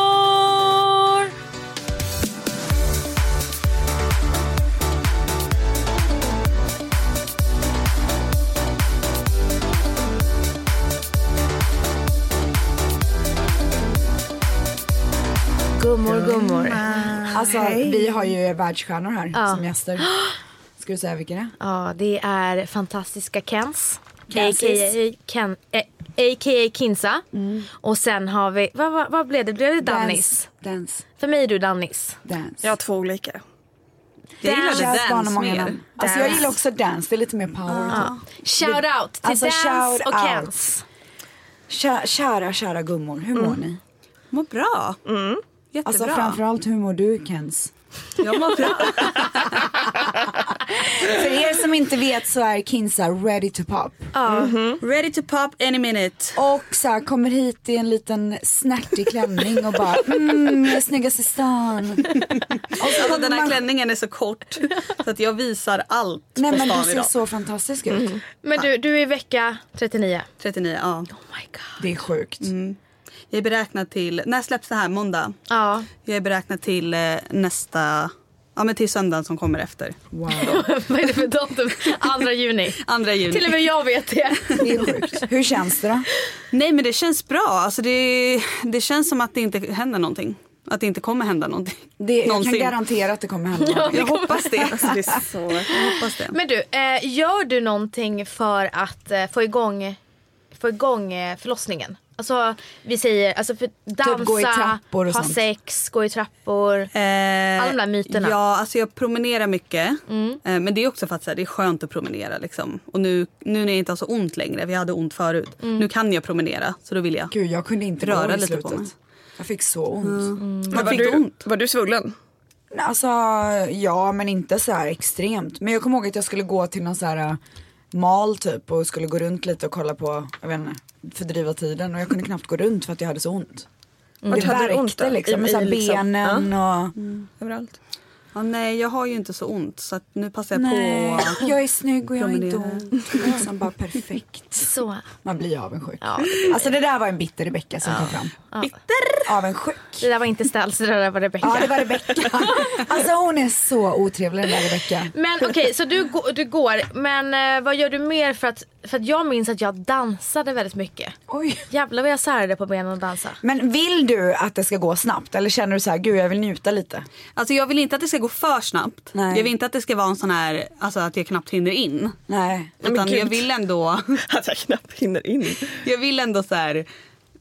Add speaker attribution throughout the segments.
Speaker 1: Gummor! Gummor, gummor.
Speaker 2: Alltså,
Speaker 1: Hej.
Speaker 2: vi har ju världsstjärnor här
Speaker 1: Ja.
Speaker 2: som gäster. Ska du säga vilka det är?
Speaker 1: Ja, det är fantastiska Kens.
Speaker 2: Kensis.
Speaker 1: A.k.a. Ken, eh, A.k.a. Kinsa. Och sen har vi, vad, vad, vad blev det? Blev det Dannis?
Speaker 2: Dance,
Speaker 1: För mig är du Dannis.
Speaker 2: dance.
Speaker 3: Jag har två olika. Jag
Speaker 1: Dance.
Speaker 3: gillade
Speaker 2: Kärt barn har
Speaker 3: dance
Speaker 2: många
Speaker 3: mer.
Speaker 2: namn. Alltså, jag gillar också dance, det är lite mer power. typ.
Speaker 1: Shout out till
Speaker 2: Alltså,
Speaker 1: Dans
Speaker 2: shout
Speaker 1: och
Speaker 2: out.
Speaker 1: Kens.
Speaker 2: Kära, kära, kära gummor, hur mår
Speaker 3: Mm.
Speaker 2: ni?
Speaker 3: Mår bra.
Speaker 2: Alltså
Speaker 3: Jättebra.
Speaker 2: framförallt hur mår du Kens?
Speaker 3: jag mår bra.
Speaker 2: För er som inte vet så är Kinsa ready to pop.
Speaker 1: Mm-hmm.
Speaker 3: Ready to pop any minute.
Speaker 2: Och så här, kommer hit i en liten snärtig klänning och bara mm, jag är snyggast i stan. Och så
Speaker 3: Alltså,
Speaker 2: kommer
Speaker 3: den här
Speaker 2: man-
Speaker 3: klänningen är så kort så att jag visar allt
Speaker 2: Nej
Speaker 3: på
Speaker 2: men
Speaker 3: stan
Speaker 2: du ser
Speaker 3: idag. Mm.
Speaker 2: så fantastisk ut.
Speaker 1: Men du, du är vecka 39.
Speaker 3: 39, ja.
Speaker 1: Oh my god.
Speaker 2: Det är sjukt.
Speaker 3: Mm. Jag är beräknad till, när släpps det här? Måndag?
Speaker 1: Ja,
Speaker 3: Jag är beräknad till eh, nästa, ja men till söndagen som kommer efter.
Speaker 2: Wow.
Speaker 1: vad är det för datum? 2 juni.
Speaker 3: Andra juni.
Speaker 1: Till och med jag vet det.
Speaker 2: Det är sjukt. Hur känns det då?
Speaker 3: Nej men det känns bra. Alltså det, det känns som att det inte händer någonting. Att det inte kommer hända någonting.
Speaker 2: Det, jag
Speaker 3: Någonsin.
Speaker 2: kan garantera att det kommer hända något.
Speaker 3: Jag hoppas det. Alltså, det är så, jag hoppas det.
Speaker 1: Men du, eh, gör du någonting för att eh, få igång, få igång eh, förlossningen? Alltså vi säger, alltså för dansa,
Speaker 2: Typ gå i trappor och
Speaker 1: ha
Speaker 2: sånt.
Speaker 1: sex, gå i trappor.
Speaker 3: Eh,
Speaker 1: Alla de där myterna.
Speaker 3: Ja, alltså jag promenerar mycket. Eh, men det är också för att så här, det är skönt att promenera. Liksom. Och nu, nu när jag inte har så ont längre, vi hade ont förut. Nu kan jag promenera, så då vill jag.
Speaker 2: Gud, jag kunde inte
Speaker 3: Röra
Speaker 2: gå i
Speaker 3: lite
Speaker 2: slutet.
Speaker 3: på mig. Mm.
Speaker 2: jag fick så ont.
Speaker 3: Men var du ont?
Speaker 4: Var du svullen?
Speaker 2: Nej, Alltså, ja men inte så här extremt. Men jag kommer ihåg att jag skulle gå till någon så här äh, mal typ och skulle gå runt lite och kolla på, jag vet inte, fördriva tiden och jag kunde knappt gå runt för att jag hade så ont. Det
Speaker 4: Mm. Vart hade du
Speaker 2: värkte
Speaker 4: ont då?
Speaker 2: liksom,
Speaker 4: I-
Speaker 2: med så här
Speaker 4: i liksom-
Speaker 2: benen och...
Speaker 4: Överallt.
Speaker 3: Ja, nej, jag har ju inte så ont. Så att nu passar jag
Speaker 2: Nej,
Speaker 3: på.
Speaker 2: jag är snygg och jag har inte
Speaker 3: Promenera.
Speaker 2: ont. Liksom bara perfekt.
Speaker 1: Så.
Speaker 2: Man blir avundsjuk.
Speaker 1: Ja.
Speaker 2: Alltså det där var en bitter Rebecka som kom fram. Bitter! Avundsjuk.
Speaker 1: Det där var inte Stelz, det där var Rebecca.
Speaker 2: Ja det var Rebecka. Alltså hon är så otrevlig den där Rebecka.
Speaker 1: Men okej, så du, gå- du går. Men eh, vad gör du mer för att, för att jag minns att jag dansade väldigt mycket.
Speaker 2: Oj.
Speaker 1: Jävlar vad jag särade på benen och dansa.
Speaker 2: Men vill du att det ska gå snabbt eller känner du så här, gud jag vill njuta lite?
Speaker 3: Alltså, jag vill inte att det ska gå för snabbt.
Speaker 2: Nej.
Speaker 3: Jag vill inte att det ska vara en sån här, alltså, att jag knappt hinner in.
Speaker 2: Nej.
Speaker 4: men
Speaker 3: Utan jag
Speaker 4: gud.
Speaker 3: vill ändå,
Speaker 4: Att jag knappt hinner in.
Speaker 3: jag vill ändå så här.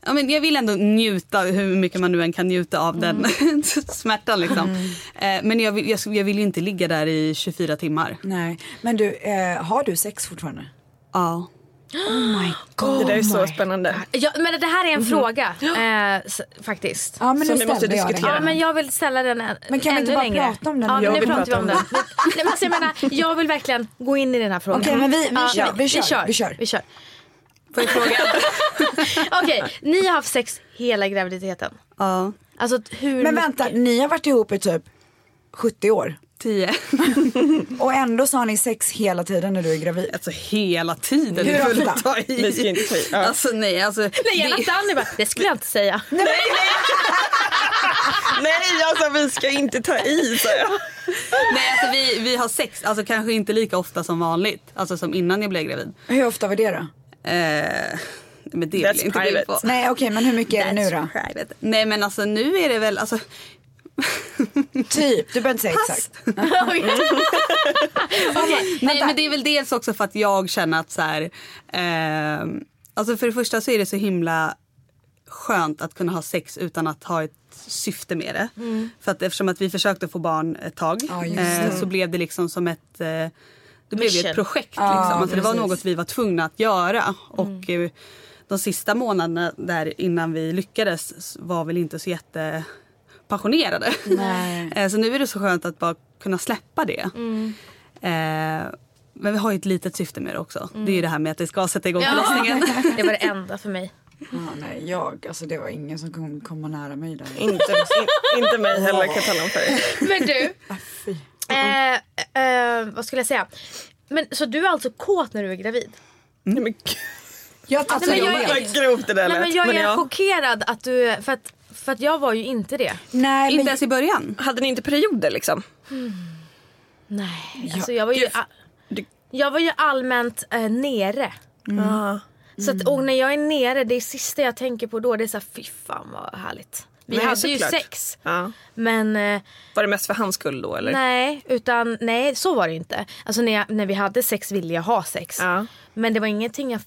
Speaker 3: Ja, men jag vill ändå njuta, hur mycket man nu än kan njuta av
Speaker 4: Mm.
Speaker 3: den smärtan. Liksom. Eh, men jag vill, jag, jag vill ju inte ligga där i 24 timmar.
Speaker 2: Nej. Men du, eh, har du sex fortfarande?
Speaker 3: Ja.
Speaker 2: Oh my god.
Speaker 4: det där är så
Speaker 2: my- Mhm.
Speaker 4: spännande.
Speaker 1: Ja, men det här är en fråga eh, s- faktiskt.
Speaker 2: Ja men nu
Speaker 4: Som vi
Speaker 2: ställde
Speaker 4: måste
Speaker 2: jag
Speaker 4: diskutera.
Speaker 2: den.
Speaker 1: Ja, men jag vill ställa den än-
Speaker 2: Men kan vi
Speaker 1: ännu
Speaker 2: inte bara
Speaker 1: längre.
Speaker 2: prata om den?
Speaker 1: Ja,
Speaker 2: Jag
Speaker 1: nu
Speaker 4: vill
Speaker 1: pratar vi
Speaker 4: prata
Speaker 1: om
Speaker 4: om
Speaker 1: den. Nej, men alltså, jag, menar, jag vill verkligen gå in i den här frågan.
Speaker 2: Okej, men vi- vi
Speaker 1: Ja,
Speaker 2: kör, vi kör, vi kör.
Speaker 1: Vi kör.
Speaker 3: Får jag fråga?
Speaker 1: Okej, ni har haft sex hela graviditeten.
Speaker 3: ja.
Speaker 1: Alltså t- hur
Speaker 2: Men vänta, ni har varit ihop i typ 70 år
Speaker 3: Tio.
Speaker 2: och ändå så har ni sex hela tiden när du är gravid.
Speaker 3: Alltså hela tiden.
Speaker 2: Hur
Speaker 3: Du får
Speaker 2: ofta?
Speaker 3: inte ta i.
Speaker 4: Vi ska inte ta i, ja.
Speaker 3: Alltså nej. Alltså,
Speaker 1: Nej, gärna
Speaker 3: det,
Speaker 1: Danny bara, det skulle jag inte säga.
Speaker 4: Nej, alltså vi ska inte ta i sa jag.
Speaker 3: nej alltså, vi, vi har sex, alltså kanske inte lika ofta som vanligt. Alltså som innan jag blev gravid.
Speaker 2: Hur ofta var det då?
Speaker 3: Eh, men det
Speaker 4: That's
Speaker 3: vill jag inte gå in
Speaker 4: private.
Speaker 3: på.
Speaker 2: Nej okej men hur mycket är det nu då?
Speaker 3: Private. Nej men alltså nu är det väl alltså.
Speaker 2: Typ, du behöver inte säga exakt.
Speaker 1: Oj.
Speaker 3: Nej men det är väl dels också för att jag känner att så här. ehm, alltså för det första så är det så himla skönt att kunna ha sex utan att ha ett syfte med det. För att eftersom att vi försökte få barn ett tag
Speaker 2: Mm. Ja, just
Speaker 3: eh, så blev det liksom som ett eh, det blev ju
Speaker 1: Mission.
Speaker 3: ett projekt liksom.
Speaker 2: Ja,
Speaker 3: alltså, det var
Speaker 2: precis. Mm.
Speaker 3: något vi var tvungna att göra och eh, de sista månaderna där innan vi lyckades s- var väl inte så jätte passionerade.
Speaker 2: Nej.
Speaker 3: Eh, så nu är det så skönt att bara kunna släppa det.
Speaker 4: Mm.
Speaker 3: Eh, men vi har ju ett litet syfte med det också. Det är
Speaker 4: Mm.
Speaker 3: ju det här med att det ska sätta igång förlossningen.
Speaker 1: Det var det enda för mig.
Speaker 2: Ja, nej jag, alltså det var ingen som kom komma nära mig där.
Speaker 4: Inte, in, inte mig heller kan jag tala om för dig.
Speaker 1: Men du,
Speaker 2: Ah, Fy.
Speaker 1: eh, eh, vad skulle jag säga? Men, så du är alltså kåt när du är gravid?
Speaker 4: Nej, men gud.
Speaker 2: Alltså, Jag
Speaker 1: Nej,
Speaker 2: tatuerar
Speaker 1: men jag-
Speaker 2: mig.
Speaker 4: Vad grovt det där
Speaker 1: Nej,
Speaker 4: lät.
Speaker 1: men jag är
Speaker 4: men ja.
Speaker 1: chockerad att du... För att, för att jag var ju inte det.
Speaker 2: Nej,
Speaker 3: Inte
Speaker 2: men
Speaker 3: ens i början.
Speaker 4: Hade ni inte perioder liksom?
Speaker 1: Nej, alltså jag var ju,
Speaker 4: Gud.
Speaker 1: a- jag var ju allmänt eh, nere.
Speaker 4: Ja.
Speaker 1: Så
Speaker 4: Mm.
Speaker 1: att, och när jag är nere, det sista jag tänker på då det är så här, fy fan vad härligt. Vi
Speaker 4: Nej,
Speaker 1: hade
Speaker 4: såklart.
Speaker 1: ju sex.
Speaker 4: Ja.
Speaker 1: Men eh,
Speaker 4: Var det mest för hans skull då eller?
Speaker 1: nej, utan, nej, så var det inte. Alltså när, jag, när vi hade sex ville jag ha sex.
Speaker 4: Ja.
Speaker 1: Men det var ingenting jag,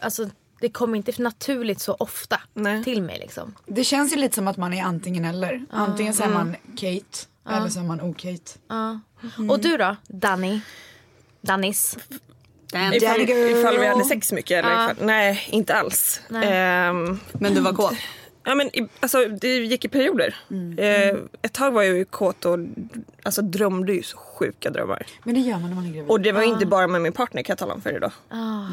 Speaker 1: alltså det kom inte naturligt så ofta
Speaker 4: Nej.
Speaker 1: till mig liksom.
Speaker 2: det känns ju lite som att man är antingen eller. Antingen så är man Kate eller så är man o-Kate.
Speaker 1: Ja.
Speaker 4: Mm.
Speaker 1: Och du då, Danny? Dannis?
Speaker 4: Ifall,
Speaker 2: Daddy girl.
Speaker 4: ifall vi hade sex mycket? Eller
Speaker 1: Ja.
Speaker 4: ifall, nej, inte alls.
Speaker 1: Nej.
Speaker 4: Ehm,
Speaker 3: Men du var kåt.
Speaker 4: ja, men, i- alltså, det gick i perioder. Ehm, ett tag var jag ju kåt och alltså, drömde ju så sjuka drömmar.
Speaker 2: Men det gör man när man är gravid.
Speaker 4: Och det var ju inte bara med min partner kan jag tala om för dig då.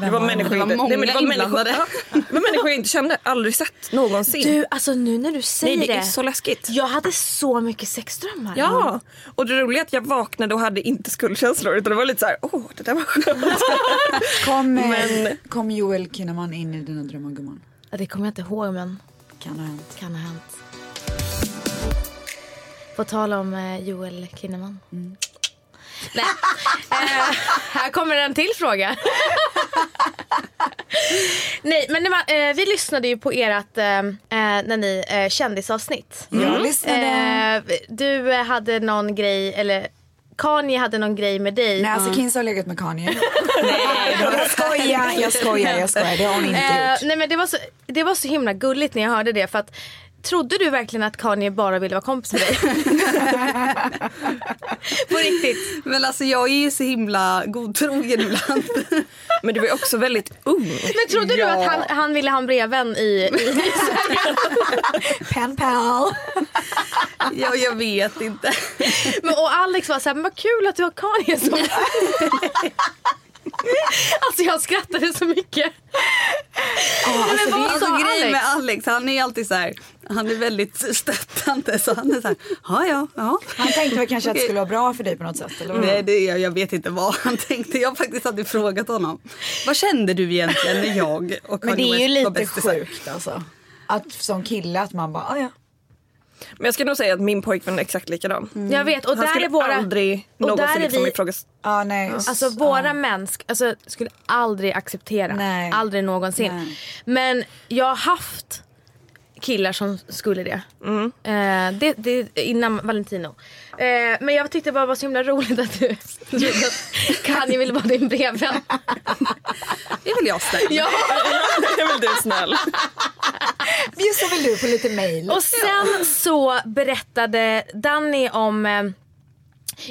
Speaker 4: Det var människor
Speaker 3: det
Speaker 4: jag
Speaker 3: var
Speaker 4: inte- nej, men det
Speaker 3: många
Speaker 4: var människor-
Speaker 3: inblandade.
Speaker 4: Ja, det var människor jag inte kände, aldrig sett någonsin.
Speaker 1: Du, alltså nu när du säger
Speaker 4: nej, det är så läskigt.
Speaker 1: Jag hade så mycket sexdrömmar.
Speaker 4: Ja, och det roliga är att jag vaknade och hade inte skuldkänslor utan det var lite så här, åh oh, det där var skönt.
Speaker 2: Kom, eh,
Speaker 4: Men-
Speaker 2: kom Joel Kinnaman in i dina drömmar gumman?
Speaker 1: Ja, Det kommer jag inte ihåg men
Speaker 2: Kan ha hänt.
Speaker 1: kan ha hänt. På tal om eh, Joel Kinnaman.
Speaker 2: Mm.
Speaker 1: Nej. eh, här kommer en till fråga. Nej men det var, eh, vi lyssnade ju på ert eh, eh, när ni eh, kändisavsnitt.
Speaker 2: Jag lyssnade.
Speaker 1: Eh, du eh, hade någon grej eller Kanye hade någon grej med dig.
Speaker 2: Nej alltså Kinsa har legat med Kanye. jag skojar, jag skojar, jag skojar. Det har hon inte
Speaker 1: Eh,
Speaker 2: gjort.
Speaker 1: nej men det var, så, det var så himla gulligt när jag hörde det för att Trodde du verkligen att Kanye bara ville vara kompis med dig? På riktigt.
Speaker 3: Men alltså jag är ju så himla godtrogen ibland.
Speaker 4: Men du var ju också väldigt ung.
Speaker 1: Men trodde du att han, han ville ha en brevvän i, i
Speaker 2: Pen pal.
Speaker 3: ja, jag vet inte.
Speaker 1: men, Och Alex var såhär, men vad kul att du har Kanye som Alltså jag skrattade så mycket. Nej, men vad
Speaker 3: Alltså
Speaker 1: sa
Speaker 3: grejen med
Speaker 1: Alex?
Speaker 3: Alex, han är ju alltid så här, han är väldigt stöttande så han är så här, ja ja, ja.
Speaker 2: Han tänkte väl kanske att det
Speaker 3: Okej.
Speaker 2: skulle vara bra för dig på något sätt eller vad?
Speaker 3: Nej, det är, jag- jag vet inte vad han tänkte. Jag har faktiskt aldrig frågat honom. Vad kände du egentligen när jag och
Speaker 2: Men det
Speaker 3: Kanye
Speaker 2: är ju
Speaker 3: West
Speaker 2: lite
Speaker 3: var bästisar?
Speaker 2: sjukt alltså. Att som kille att man bara, "Ah, ja.
Speaker 4: Men jag ska nog säga att min pojkvän är exakt likadan.
Speaker 1: Jag vet och
Speaker 4: Han
Speaker 1: där
Speaker 4: skulle
Speaker 1: är våra,
Speaker 4: aldrig
Speaker 1: och
Speaker 4: någonsin
Speaker 1: där är
Speaker 4: liksom
Speaker 1: vi-
Speaker 4: ifrågasätta.
Speaker 2: Ja, Ah, nej.
Speaker 1: Alltså våra män sk- alltså, skulle aldrig acceptera.
Speaker 2: Nej.
Speaker 1: Aldrig någonsin.
Speaker 2: Nej.
Speaker 1: Men jag har haft killar som skulle det.
Speaker 2: Mm.
Speaker 1: Eh, det, det innan Valentino. Eh, men jag tyckte bara det var så himla roligt att du att Kanye ville vara din brevvän.
Speaker 3: Det är väl jag snäll.
Speaker 1: ja.
Speaker 4: Det är väl du snäll.
Speaker 2: Bjussar väl du på lite mail?
Speaker 1: Och sen så berättade Danny om eh,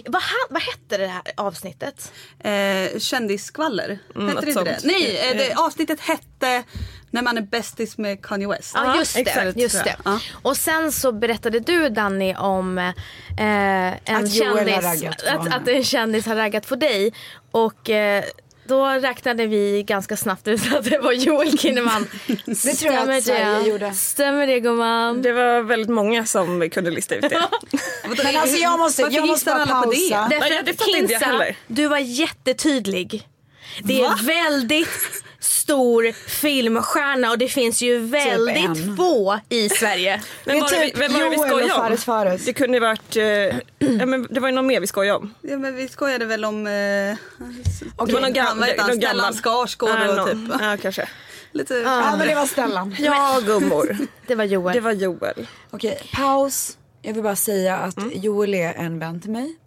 Speaker 1: vad, han, vad hette det här avsnittet?
Speaker 3: Eh, kändisskvaller, hette
Speaker 2: Mm,
Speaker 4: något
Speaker 3: det inte det?
Speaker 4: sånt.
Speaker 3: Nej, eh, det, avsnittet hette När man är bästis med Kanye West.
Speaker 1: Ja, just det.
Speaker 4: exakt,
Speaker 1: just
Speaker 4: tror
Speaker 1: det.
Speaker 4: jag.
Speaker 3: Ja.
Speaker 1: Och sen så berättade du Danny om eh, en
Speaker 2: Att Joel har
Speaker 1: kändis,
Speaker 2: raggat på
Speaker 1: att,
Speaker 2: henne.
Speaker 1: att en kändis har raggat på dig. Och eh, då räknade vi ganska snabbt ut att det var Joel Kinnaman.
Speaker 2: Det tror jag att Sverige gjorde.
Speaker 1: Stämmer det gumman?
Speaker 4: Det var väldigt många som kunde lista ut det.
Speaker 2: Men alltså jag måste,
Speaker 3: Varför
Speaker 2: jag måste
Speaker 3: gissar
Speaker 2: bara
Speaker 3: alla på det?
Speaker 2: pausa.
Speaker 1: Därför
Speaker 4: Nej,
Speaker 1: att
Speaker 4: det fattar inte jag heller.
Speaker 1: du var jättetydlig. Det är väldigt stor filmstjärna och det finns ju väldigt
Speaker 2: en.
Speaker 1: få i Sverige.
Speaker 2: Det
Speaker 4: Men
Speaker 2: är
Speaker 4: var det vi,
Speaker 2: typ
Speaker 4: vem var det vi
Speaker 2: Joel och
Speaker 4: skojade om?
Speaker 2: Fares Fares.
Speaker 4: Det kunde ju varit, eh, ja, men det var ju någon mer vi skojade om.
Speaker 3: Ja, men vi skojade väl om... Eh,
Speaker 4: Det var någon, gam-
Speaker 3: han var utan
Speaker 4: någon
Speaker 3: Stellan
Speaker 4: gammal.
Speaker 3: Skarsgård
Speaker 4: Ja,
Speaker 3: och
Speaker 4: någon-
Speaker 3: typ.
Speaker 4: Ja, kanske.
Speaker 3: Lite,
Speaker 2: Ja men det var Stellan.
Speaker 4: Ja, gummor.
Speaker 1: Det var Joel.
Speaker 4: Det var Joel.
Speaker 2: Okej, paus. Jag vill bara säga att Joel är en vän till mig.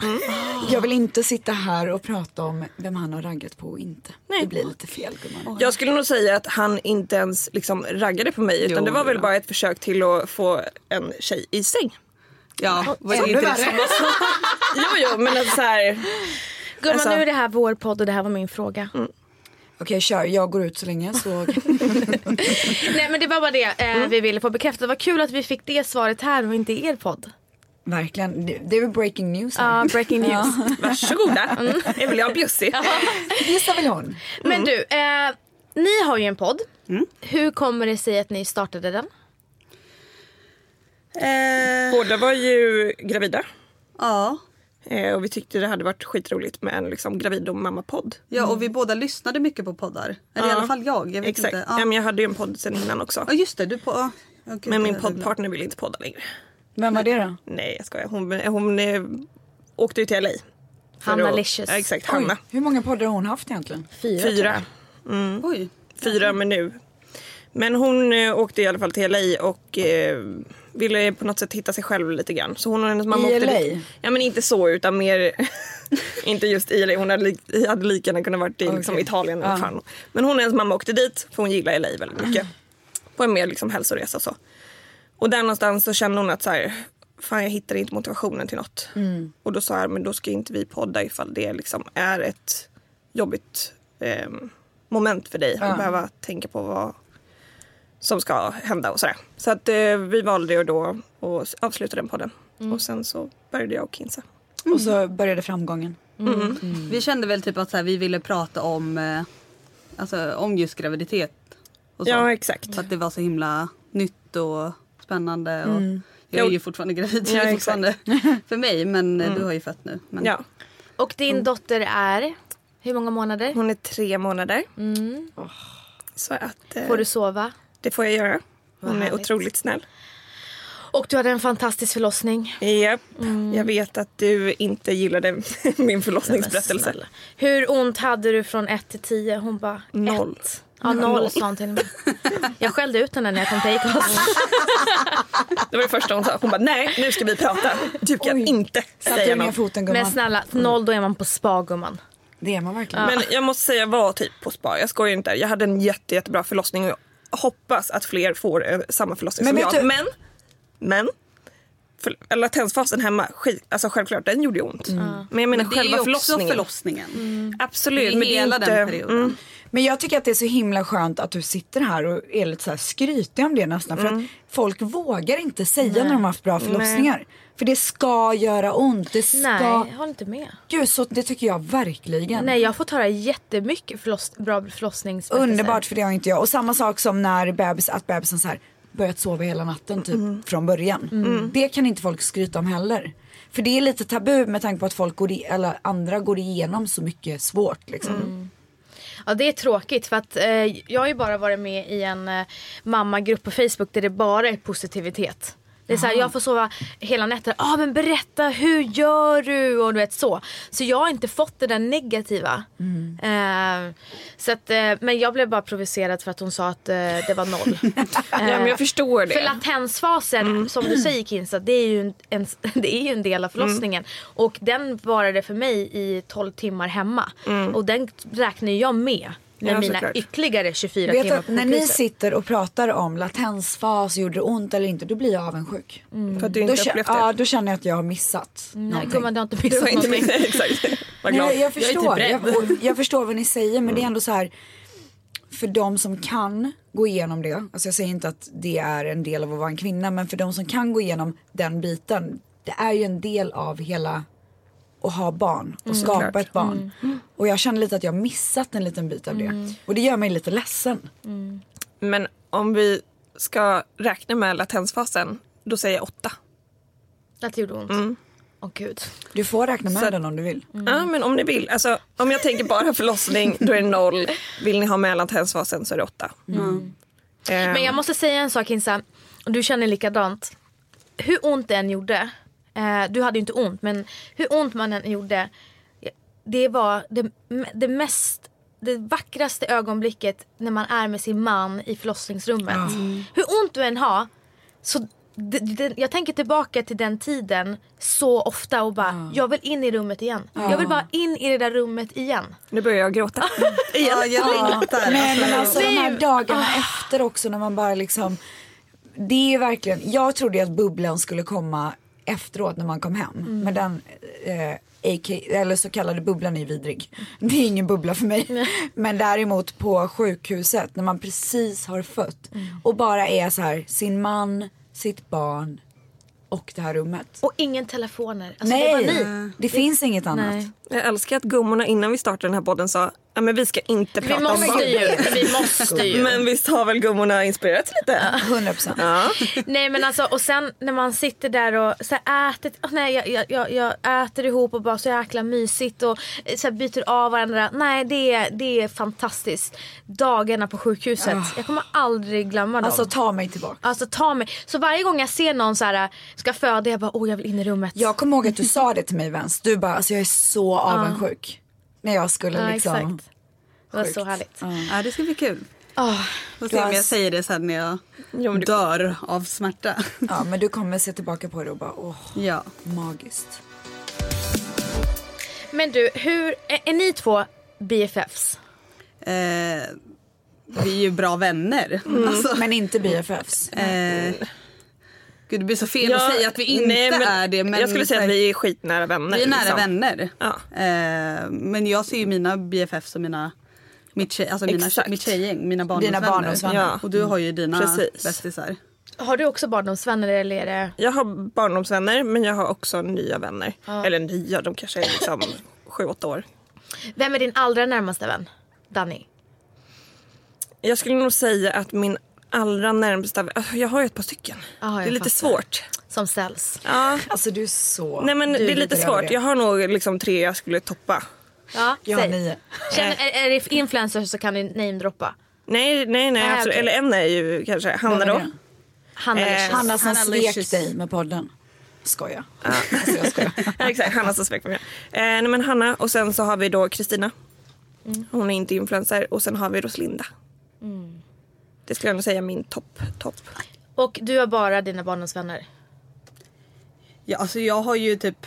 Speaker 2: Jag vill inte sitta här och prata om vem han har raggat på och inte. Det blir lite fel gumman.
Speaker 4: Jag skulle nog säga att han inte ens liksom raggade på mig utan
Speaker 3: Jo,
Speaker 4: det var väl
Speaker 3: ja.
Speaker 4: bara ett försök till att få en tjej i säng.
Speaker 3: ja, var det
Speaker 2: Ännu
Speaker 3: inte det
Speaker 2: värre.
Speaker 3: samma sak?
Speaker 4: Jo, jo, men alltså, så här,
Speaker 1: Gumman
Speaker 4: Alltså-
Speaker 1: nu är det här vår podd och det här var min fråga.
Speaker 2: Okej kör, jag går ut så länge så.
Speaker 1: Nej men det var bara det eh, vi ville få bekräftat. Det var kul att vi fick det svaret här och inte i er podd.
Speaker 2: Verkligen, det det är väl breaking news här.
Speaker 1: Ja, breaking news.
Speaker 4: varsågoda. Jag vill ha bjussig.
Speaker 2: Gissa väl hon.
Speaker 1: Men du, eh, ni har ju en podd. Hur kommer det sig att ni startade den?
Speaker 3: Eh,
Speaker 4: Båda var ju gravida.
Speaker 3: ja.
Speaker 4: Eh, och vi tyckte det hade varit skitroligt med en liksom, gravid och mamma-podd.
Speaker 3: Ja, och vi båda lyssnade mycket på poddar. Eller i
Speaker 4: Mm. Ja.
Speaker 3: alla fall jag. jag vet
Speaker 4: Exakt.
Speaker 3: Inte.
Speaker 4: Ja.
Speaker 3: Ja.
Speaker 4: men jag hade ju en podd sen innan också.
Speaker 3: ja, just det. Du på... ja. Ja, gud,
Speaker 4: Men min
Speaker 3: jag-
Speaker 4: poddpartner vill inte podda längre.
Speaker 2: Vem var det då?
Speaker 4: Nej jag skojar. Hon, hon eh, åkte ju till LA. för
Speaker 1: Hanna
Speaker 4: att-
Speaker 1: Licious.
Speaker 4: Ja, exakt,
Speaker 2: Oj,
Speaker 4: Hanna.
Speaker 2: hur många poddar har hon haft egentligen?
Speaker 1: Fyra. tror jag.
Speaker 4: Fyra.
Speaker 3: Oj.
Speaker 4: Fyra men nu. Men hon eh, åkte i alla fall till LA och eh, ville på något sätt hitta sig själv lite grann. Så hon och hennes mamma
Speaker 2: I
Speaker 4: åkte
Speaker 2: LA?
Speaker 4: dit. Ja men inte så utan mer, inte just i LA. Hon hade, li- hade lika gärna kunnat varit i liksom,
Speaker 2: Okej.
Speaker 4: Italien eller vad fan. Men hon och hennes mamma åkte dit för hon gillar LA väldigt mycket. På en mer liksom, hälsoresa så. Och där någonstans så kände hon att så här, fan jag hittar inte motivationen till något. Och då sa jag, men då ska inte vi podda ifall det liksom är ett jobbigt ehm, moment för dig. Att behöva tänka på vad som ska hända och sådär. Så att eh, vi valde ju då att avsluta den podden. Och sen så började jag och Kinsa.
Speaker 2: Och så började framgången.
Speaker 4: Mm.
Speaker 3: Vi kände väl typ att så här, vi ville prata om, eh, alltså, om just graviditet. Och så.
Speaker 4: Ja exakt.
Speaker 3: För att det var så himla nytt och spännande. Och Jag är
Speaker 4: Mm. Jo.
Speaker 3: ju fortfarande gravid.
Speaker 4: Ja,
Speaker 3: Ja,
Speaker 4: exakt. Mm.
Speaker 3: fortfarande för mig, men eh, du har ju fött nu. Men,
Speaker 4: Ja.
Speaker 1: Och din dotter är hur många månader?
Speaker 4: Hon är tre månader. Så att eh,
Speaker 1: Får du sova?
Speaker 4: det får jag göra.
Speaker 1: Vad
Speaker 4: Hon är
Speaker 1: härligt.
Speaker 4: otroligt snäll.
Speaker 1: Och du hade en fantastisk förlossning.
Speaker 4: Japp. Jag vet att du inte gillade min förlossningsberättelse.
Speaker 1: snälla. Hur ont hade du från 1 till 10? Hon bara
Speaker 4: Noll.
Speaker 1: Ett. Ja, noll sa hon till mig. Jag skällde ut henne när jag kom till Acast.
Speaker 4: Det var det första hon sa. Hon bara, nej nu ska vi prata. Du kan inte
Speaker 2: Satte du
Speaker 4: säga
Speaker 2: ner
Speaker 4: något.
Speaker 2: foten gumman?
Speaker 1: Men snälla, noll då är man på spa gumman.
Speaker 2: Det är man verkligen.
Speaker 4: Men jag måste säga jag var typ på spa. Jag skojar inte. Jag hade en jätte, jättebra förlossning och jag hoppas att fler får eh, samma förlossning
Speaker 2: Men
Speaker 4: som
Speaker 2: vet
Speaker 4: jag.
Speaker 2: du-
Speaker 4: Men, men. För, eller latensfasen hemma, skit, alltså självklart den gjorde ju ont.
Speaker 2: Mm.
Speaker 4: Mm. Men jag menar
Speaker 3: Men det är ju
Speaker 4: själva
Speaker 3: också
Speaker 4: förlossningen.
Speaker 3: förlossningen.
Speaker 4: Absolut.
Speaker 3: Det är
Speaker 4: men det är
Speaker 3: hela
Speaker 4: inte,
Speaker 3: den perioden.
Speaker 4: Mm,
Speaker 2: Men jag tycker att det är så himla skönt att du sitter här och är lite så här skrytig om det nästan. För
Speaker 1: Mm.
Speaker 2: att folk vågar inte säga när de har haft bra förlossningar. För det ska göra ont. Det ska...
Speaker 1: Nej, jag håller inte med.
Speaker 2: Gud, så det tycker jag verkligen.
Speaker 1: Nej, jag har fått höra jättemycket förloss- bra förlossningsberättelser.
Speaker 2: Underbart för det har inte jag. Och samma sak som när bebis, att bebisen så här börjat sova hela natten typ
Speaker 1: Mm.
Speaker 2: från början. Det kan inte folk skryta om heller. För det är lite tabu med tanke på att folk går i, eller andra går igenom så mycket svårt liksom.
Speaker 1: Mm. Ja, det är tråkigt för att eh, jag har ju bara varit med i en eh, mammagrupp på Facebook där det bara är positivitet. Det är så här, jag får sova hela nätter. ah, men berätta hur gör du? Och du vet så. Så jag har inte fått det där negativa.
Speaker 4: Mm.
Speaker 1: Eh, så att, eh, men jag blev bara provocerad för att hon sa att eh, det var noll. Eh,
Speaker 4: ja,
Speaker 2: Eh,
Speaker 4: men jag förstår det. Mm.
Speaker 1: För latensfasen, som du säger Kinsa, det är ju en, en, det är ju en del av förlossningen. Och den varade för mig i 12 timmar hemma. Och den räknar ju jag med med
Speaker 4: Mm. Ja,
Speaker 1: mina
Speaker 4: såklart.
Speaker 1: ytterligare 24
Speaker 2: Vet du,
Speaker 1: timmar
Speaker 2: att
Speaker 1: på
Speaker 2: när ni
Speaker 1: sjukhuset.
Speaker 2: sitter och pratar om latensfas, gjorde det ont eller inte, då blir jag avundsjuk.
Speaker 4: För att
Speaker 2: Då,
Speaker 4: du inte
Speaker 2: kä-
Speaker 4: upplevt Mm. det.
Speaker 2: ja, då känner jag att jag har missat
Speaker 1: Nej,
Speaker 2: någonting.
Speaker 1: gumman, du har inte
Speaker 4: Du
Speaker 1: missat
Speaker 4: var inte
Speaker 1: någonting.
Speaker 4: med. Exakt. Var glad.
Speaker 2: Nej, jag förstår.
Speaker 4: är
Speaker 2: Jag,
Speaker 4: typ rädd.
Speaker 2: och jag förstår vad ni säger men det är ändå så här för de som kan gå igenom det, alltså jag säger inte att det är en del av att vara en kvinna men för de som kan gå igenom den biten, det är ju en del av hela att ha barn och skapa
Speaker 4: Såklart.
Speaker 2: ett barn. Och jag känner lite att jag missat en liten bit av det och det gör mig lite ledsen.
Speaker 4: Men om vi ska räkna med latensfasen, då säger jag åtta.
Speaker 1: Att det gjorde ont.
Speaker 4: Mm.
Speaker 1: Åh gud.
Speaker 2: Du får räkna med den om du vill.
Speaker 4: Ja, men om ni vill. Alltså, om jag tänker bara förlossning, då är det noll. Vill ni ha med latensfasen så är det åtta. Eh,
Speaker 1: Men jag måste säga en sak Kinsa, du känner likadant. Hur ont det än gjorde, eh, du hade ju inte ont, men hur ont man än gjorde. Det var det, det mest det vackraste ögonblicket när man är med sin man i förlossningsrummet.
Speaker 4: Mm.
Speaker 1: Hur ont du än har, så det, det, jag tänker tillbaka till den tiden så ofta och bara jag vill in i rummet igen. Jag vill bara in i det där rummet igen.
Speaker 4: Nu börjar jag gråta.
Speaker 3: Ja, jag längtar.
Speaker 2: Nej men
Speaker 3: alltså.
Speaker 2: alltså de här dagarna
Speaker 1: Ah.
Speaker 2: efter också när man bara liksom Det är ju verkligen, jag trodde ju att bubblan skulle komma efteråt när man kom hem
Speaker 1: Mm.
Speaker 2: Men den eh, AK, eller så kallade bubblan är ju vidrig Det är ingen bubbla för mig Men däremot på sjukhuset när man precis har fött
Speaker 1: Mm.
Speaker 2: Och bara är så här sin man, sitt barn och det här rummet
Speaker 1: Och ingen telefoner. Alltså, Det var
Speaker 2: Nej,
Speaker 1: ni.
Speaker 2: det, finns inget annat
Speaker 1: Nej.
Speaker 4: Jag älskar att gummorna innan vi startade den här podden sa Ja, men vi ska inte prata
Speaker 1: Vi
Speaker 4: om
Speaker 1: måste
Speaker 4: barn.
Speaker 1: ju. Vi måste ju.
Speaker 4: Men visst har väl gummorna inspirerats lite?
Speaker 2: 100%.
Speaker 1: Nej men alltså och sen när man sitter där och så här, äter, åh, nej, jag, jag, jag, jag äter ihop och bara så jäkla mysigt och eh, så här, byter av varandra. Nej det är, det är fantastiskt. Dagarna på sjukhuset. Jag kommer aldrig glömma dem.
Speaker 2: Ah. Alltså ta mig tillbaka.
Speaker 1: Alltså ta mig. Så varje gång jag ser någon så här eh, ska föda jag bara åh jag vill in i rummet.
Speaker 2: Jag kommer ihåg att du sa det till mig Vens. Du bara, alltså jag är så avundsjuk. När jag skulle
Speaker 1: ja,
Speaker 2: liksom.
Speaker 1: exakt. Det var så härligt. Ah.
Speaker 3: Ja, det ska bli kul.
Speaker 1: Åh,
Speaker 3: Får se om
Speaker 2: Glass.
Speaker 3: jag säger det sen när jag
Speaker 4: men det-
Speaker 3: dör av smärta.
Speaker 2: Ja men du kommer se tillbaka på det och bara, åh,
Speaker 3: ja.
Speaker 2: magiskt.
Speaker 1: Men du hur, är, är ni två BFFs?
Speaker 3: Eh, vi är ju bra vänner.
Speaker 4: Mm.
Speaker 3: Alltså,
Speaker 2: Men inte BFFs.
Speaker 3: eh, gud, det blir så fel
Speaker 4: Ja,
Speaker 3: att säga att vi inte
Speaker 4: nej, men
Speaker 3: är det. Men
Speaker 4: jag skulle säga att vi är skitnära vänner.
Speaker 3: vi är nära
Speaker 4: liksom.
Speaker 3: vänner.
Speaker 4: Ja.
Speaker 3: Eh, men jag ser ju mina BFF som mina, mitt, tjej, alltså mina,
Speaker 4: Exakt.
Speaker 3: mitt tjejgäng, mina barndomsvänner.
Speaker 2: Dina barndomsvänner.
Speaker 4: Ja.
Speaker 3: Och du har ju dina
Speaker 4: Precis.
Speaker 3: bästisar.
Speaker 1: Har du också barndomsvänner eller är det?
Speaker 4: Jag har barndomsvänner men jag har också nya vänner. Eller nya, de kanske är liksom sju, åtta år.
Speaker 1: Vem är din allra närmaste vän? Danny?
Speaker 4: Jag skulle nog säga att min allra närmsta... Öh, Jag har ju ett par stycken.
Speaker 1: Ja,
Speaker 4: det
Speaker 1: jag
Speaker 4: är lite
Speaker 1: fattar.
Speaker 4: svårt.
Speaker 1: Som ställs.
Speaker 4: Ja.
Speaker 2: Alltså du är så.
Speaker 4: Nej men
Speaker 2: du
Speaker 4: det är lite svårt. Jag
Speaker 2: Jag,
Speaker 4: har nog liksom tre jag skulle toppa.
Speaker 1: Ja,
Speaker 2: jag har
Speaker 1: säg.
Speaker 2: nio.
Speaker 1: Känner, är, är det influencers så kan ni namedroppa.
Speaker 4: Nej, nej, nej.
Speaker 1: Nej,
Speaker 4: absolut.
Speaker 1: okej.
Speaker 4: Eller en är ju kanske Hanna
Speaker 2: Vem är
Speaker 4: då.
Speaker 2: det?
Speaker 1: Hanna
Speaker 4: Eh,
Speaker 1: Licious.
Speaker 2: Hanna som
Speaker 3: Hanna Lucius.
Speaker 2: svek dig med podden. Skoja. Alltså jag skojar.
Speaker 4: Ja, exakt, Hanna som svek på mig. Eh, nej, men Hanna och sen så har vi då Kristina. Hon är inte influencer. Och sen har vi Roslinda. Mm. Det skulle jag nog säga är min topp, topp.
Speaker 1: Och du har bara dina barndomsvänner.
Speaker 3: Ja, alltså jag har ju typ...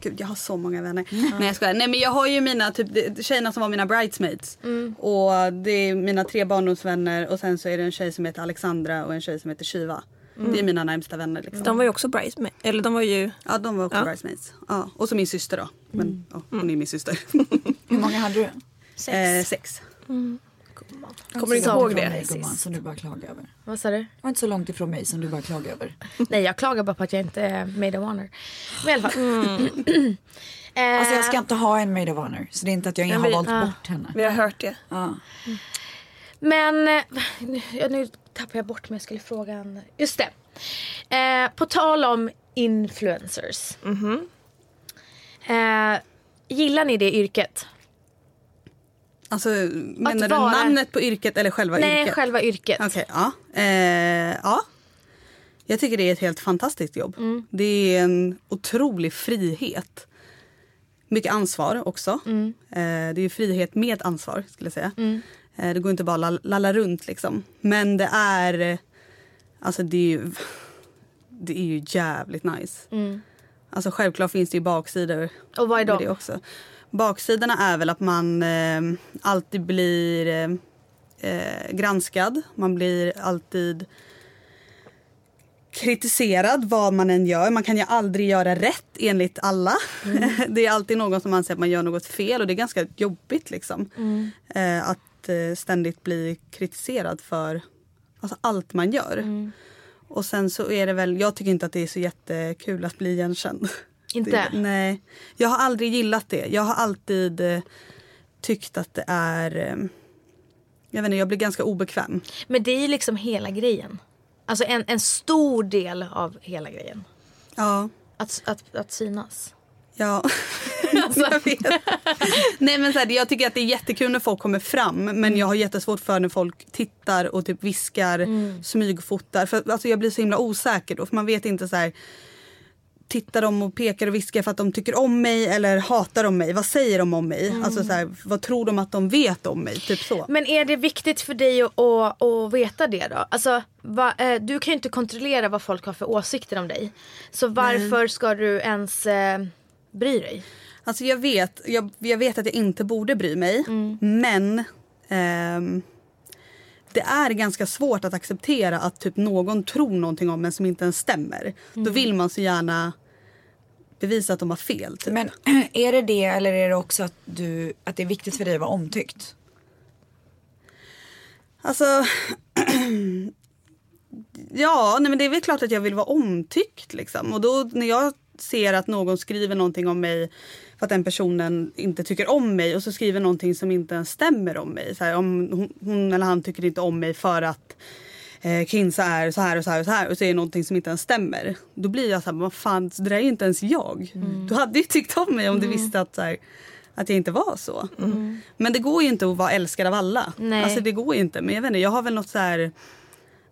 Speaker 3: Gud, jag har så många vänner.
Speaker 1: Mm.
Speaker 3: Nej, jag skojar. Nej, men jag har ju mina typ, det- tjejerna som var mina bridesmaids.
Speaker 1: Mm.
Speaker 3: Och det är mina tre barndomsvänner och sen så är det en tjej som heter Alexandra och en tjej som heter Shiva.
Speaker 1: Mm.
Speaker 3: Det är mina närmsta vänner. Liksom.
Speaker 4: De var ju också bridesmaids. Eller de var ju...
Speaker 3: Ja, de var också
Speaker 4: Ja.
Speaker 3: bridesmaids. Ja. Och så min syster då. Men ja, hon är min syster.
Speaker 2: Hur många hade du?
Speaker 1: Mm. Sex.
Speaker 3: eh, sex.
Speaker 4: Kommer du inte
Speaker 2: Så långt
Speaker 4: ihåg
Speaker 2: ifrån
Speaker 4: det?
Speaker 2: Mig, gumman, som du bara klagar över.
Speaker 1: Vad sa du?
Speaker 2: Det var inte så långt ifrån mig som du bara klagar över.
Speaker 4: Eh.
Speaker 1: Nej jag klagar bara på att jag inte är made of honor. Men i alla fall. Eh,
Speaker 2: Mm. Alltså jag ska inte ha en maid of honor. Så det är inte att jag har
Speaker 4: vi-
Speaker 2: valt
Speaker 1: ah.
Speaker 2: bort henne.
Speaker 4: Vi har hört det.
Speaker 1: Men eh, nu, ja, nu tappar jag bort mig. Jag skulle fråga en. Just det. Eh, på tal om influencers.
Speaker 2: Mhm.
Speaker 1: eh, gillar ni det yrket?
Speaker 3: Alltså, menar
Speaker 1: vara-
Speaker 3: du namnet på yrket eller själva
Speaker 1: Nej,
Speaker 3: yrket?
Speaker 1: själva yrket.
Speaker 3: Okej, ja. Eh, ja. Jag tycker det är ett helt fantastiskt jobb. Det är en otrolig frihet. Mycket ansvar också. Eh, det är ju frihet med ansvar skulle jag säga. Eh, det går inte bara att lall- lalla runt liksom. Men det är... Alltså det är ju, det är ju jävligt nice. Alltså självklart finns det ju baksidor
Speaker 1: Mm. Och vad är
Speaker 3: med
Speaker 1: de?
Speaker 3: det också. Baksidorna är väl att man eh, alltid blir eh, eh, granskad. Man blir alltid kritiserad vad man än gör. Man kan ju aldrig göra rätt enligt alla. det är alltid någon som anser att man gör något fel och det är ganska jobbigt liksom. Eh, att eh, ständigt bli kritiserad för alltså, allt man gör. Och sen så är det väl, jag tycker inte att det är så jättekul att bli igenkänd.
Speaker 1: Inte?
Speaker 3: Det, nej. Jag har aldrig gillat det. Jag har alltid eh, tyckt att det är, eh, jag vet inte, jag blir ganska obekväm.
Speaker 1: Men det är ju liksom hela grejen. Alltså en, en stor del av hela grejen.
Speaker 3: Ja.
Speaker 1: Att, att, att synas.
Speaker 3: Ja. Alltså, jag vet. Nej, men så här, jag tycker att det är jättekul när folk kommer fram men jag har jättesvårt för när folk tittar och typ viskar, smygfotar. För, alltså, jag blir så himla osäker då för man vet inte så här Tittar de och pekar och viskar för att de tycker om mig eller hatar de mig? Vad säger de om mig? Alltså så här, vad tror de att de vet om mig? Typ så.
Speaker 1: Men är det viktigt för dig att, att, att veta det då? Alltså, va, eh, du kan ju inte kontrollera vad folk har för åsikter om dig. Så varför ska du ens eh, bry dig?
Speaker 3: Alltså jag vet, jag, jag vet att jag inte borde bry mig men ehm, det är ganska svårt att acceptera att typ någon tror någonting om en som inte ens stämmer. Då vill man så gärna bevisa att de har fel. Typ.
Speaker 2: Men är det det eller är det också att, du, att det är viktigt för dig att vara omtyckt?
Speaker 3: Alltså... ja, nej, men det är väl klart att jag vill vara omtyckt. Liksom. Och då när jag ser att någon skriver någonting om mig för att den personen inte tycker om mig och så skriver någonting som inte ens stämmer om mig. Så här, om hon, hon eller han tycker inte om mig för att eh, Kinsa är så här och så här och så här och så är det någonting som inte ens stämmer. Då blir jag så här, vad fan, så där är ju inte ens jag. Du hade ju tyckt om mig om du visste att, så här, att jag inte var så. Men det går ju inte att vara älskad av alla.
Speaker 1: Nej.
Speaker 3: Alltså det går ju inte. Men jag vet inte, jag har väl något så här,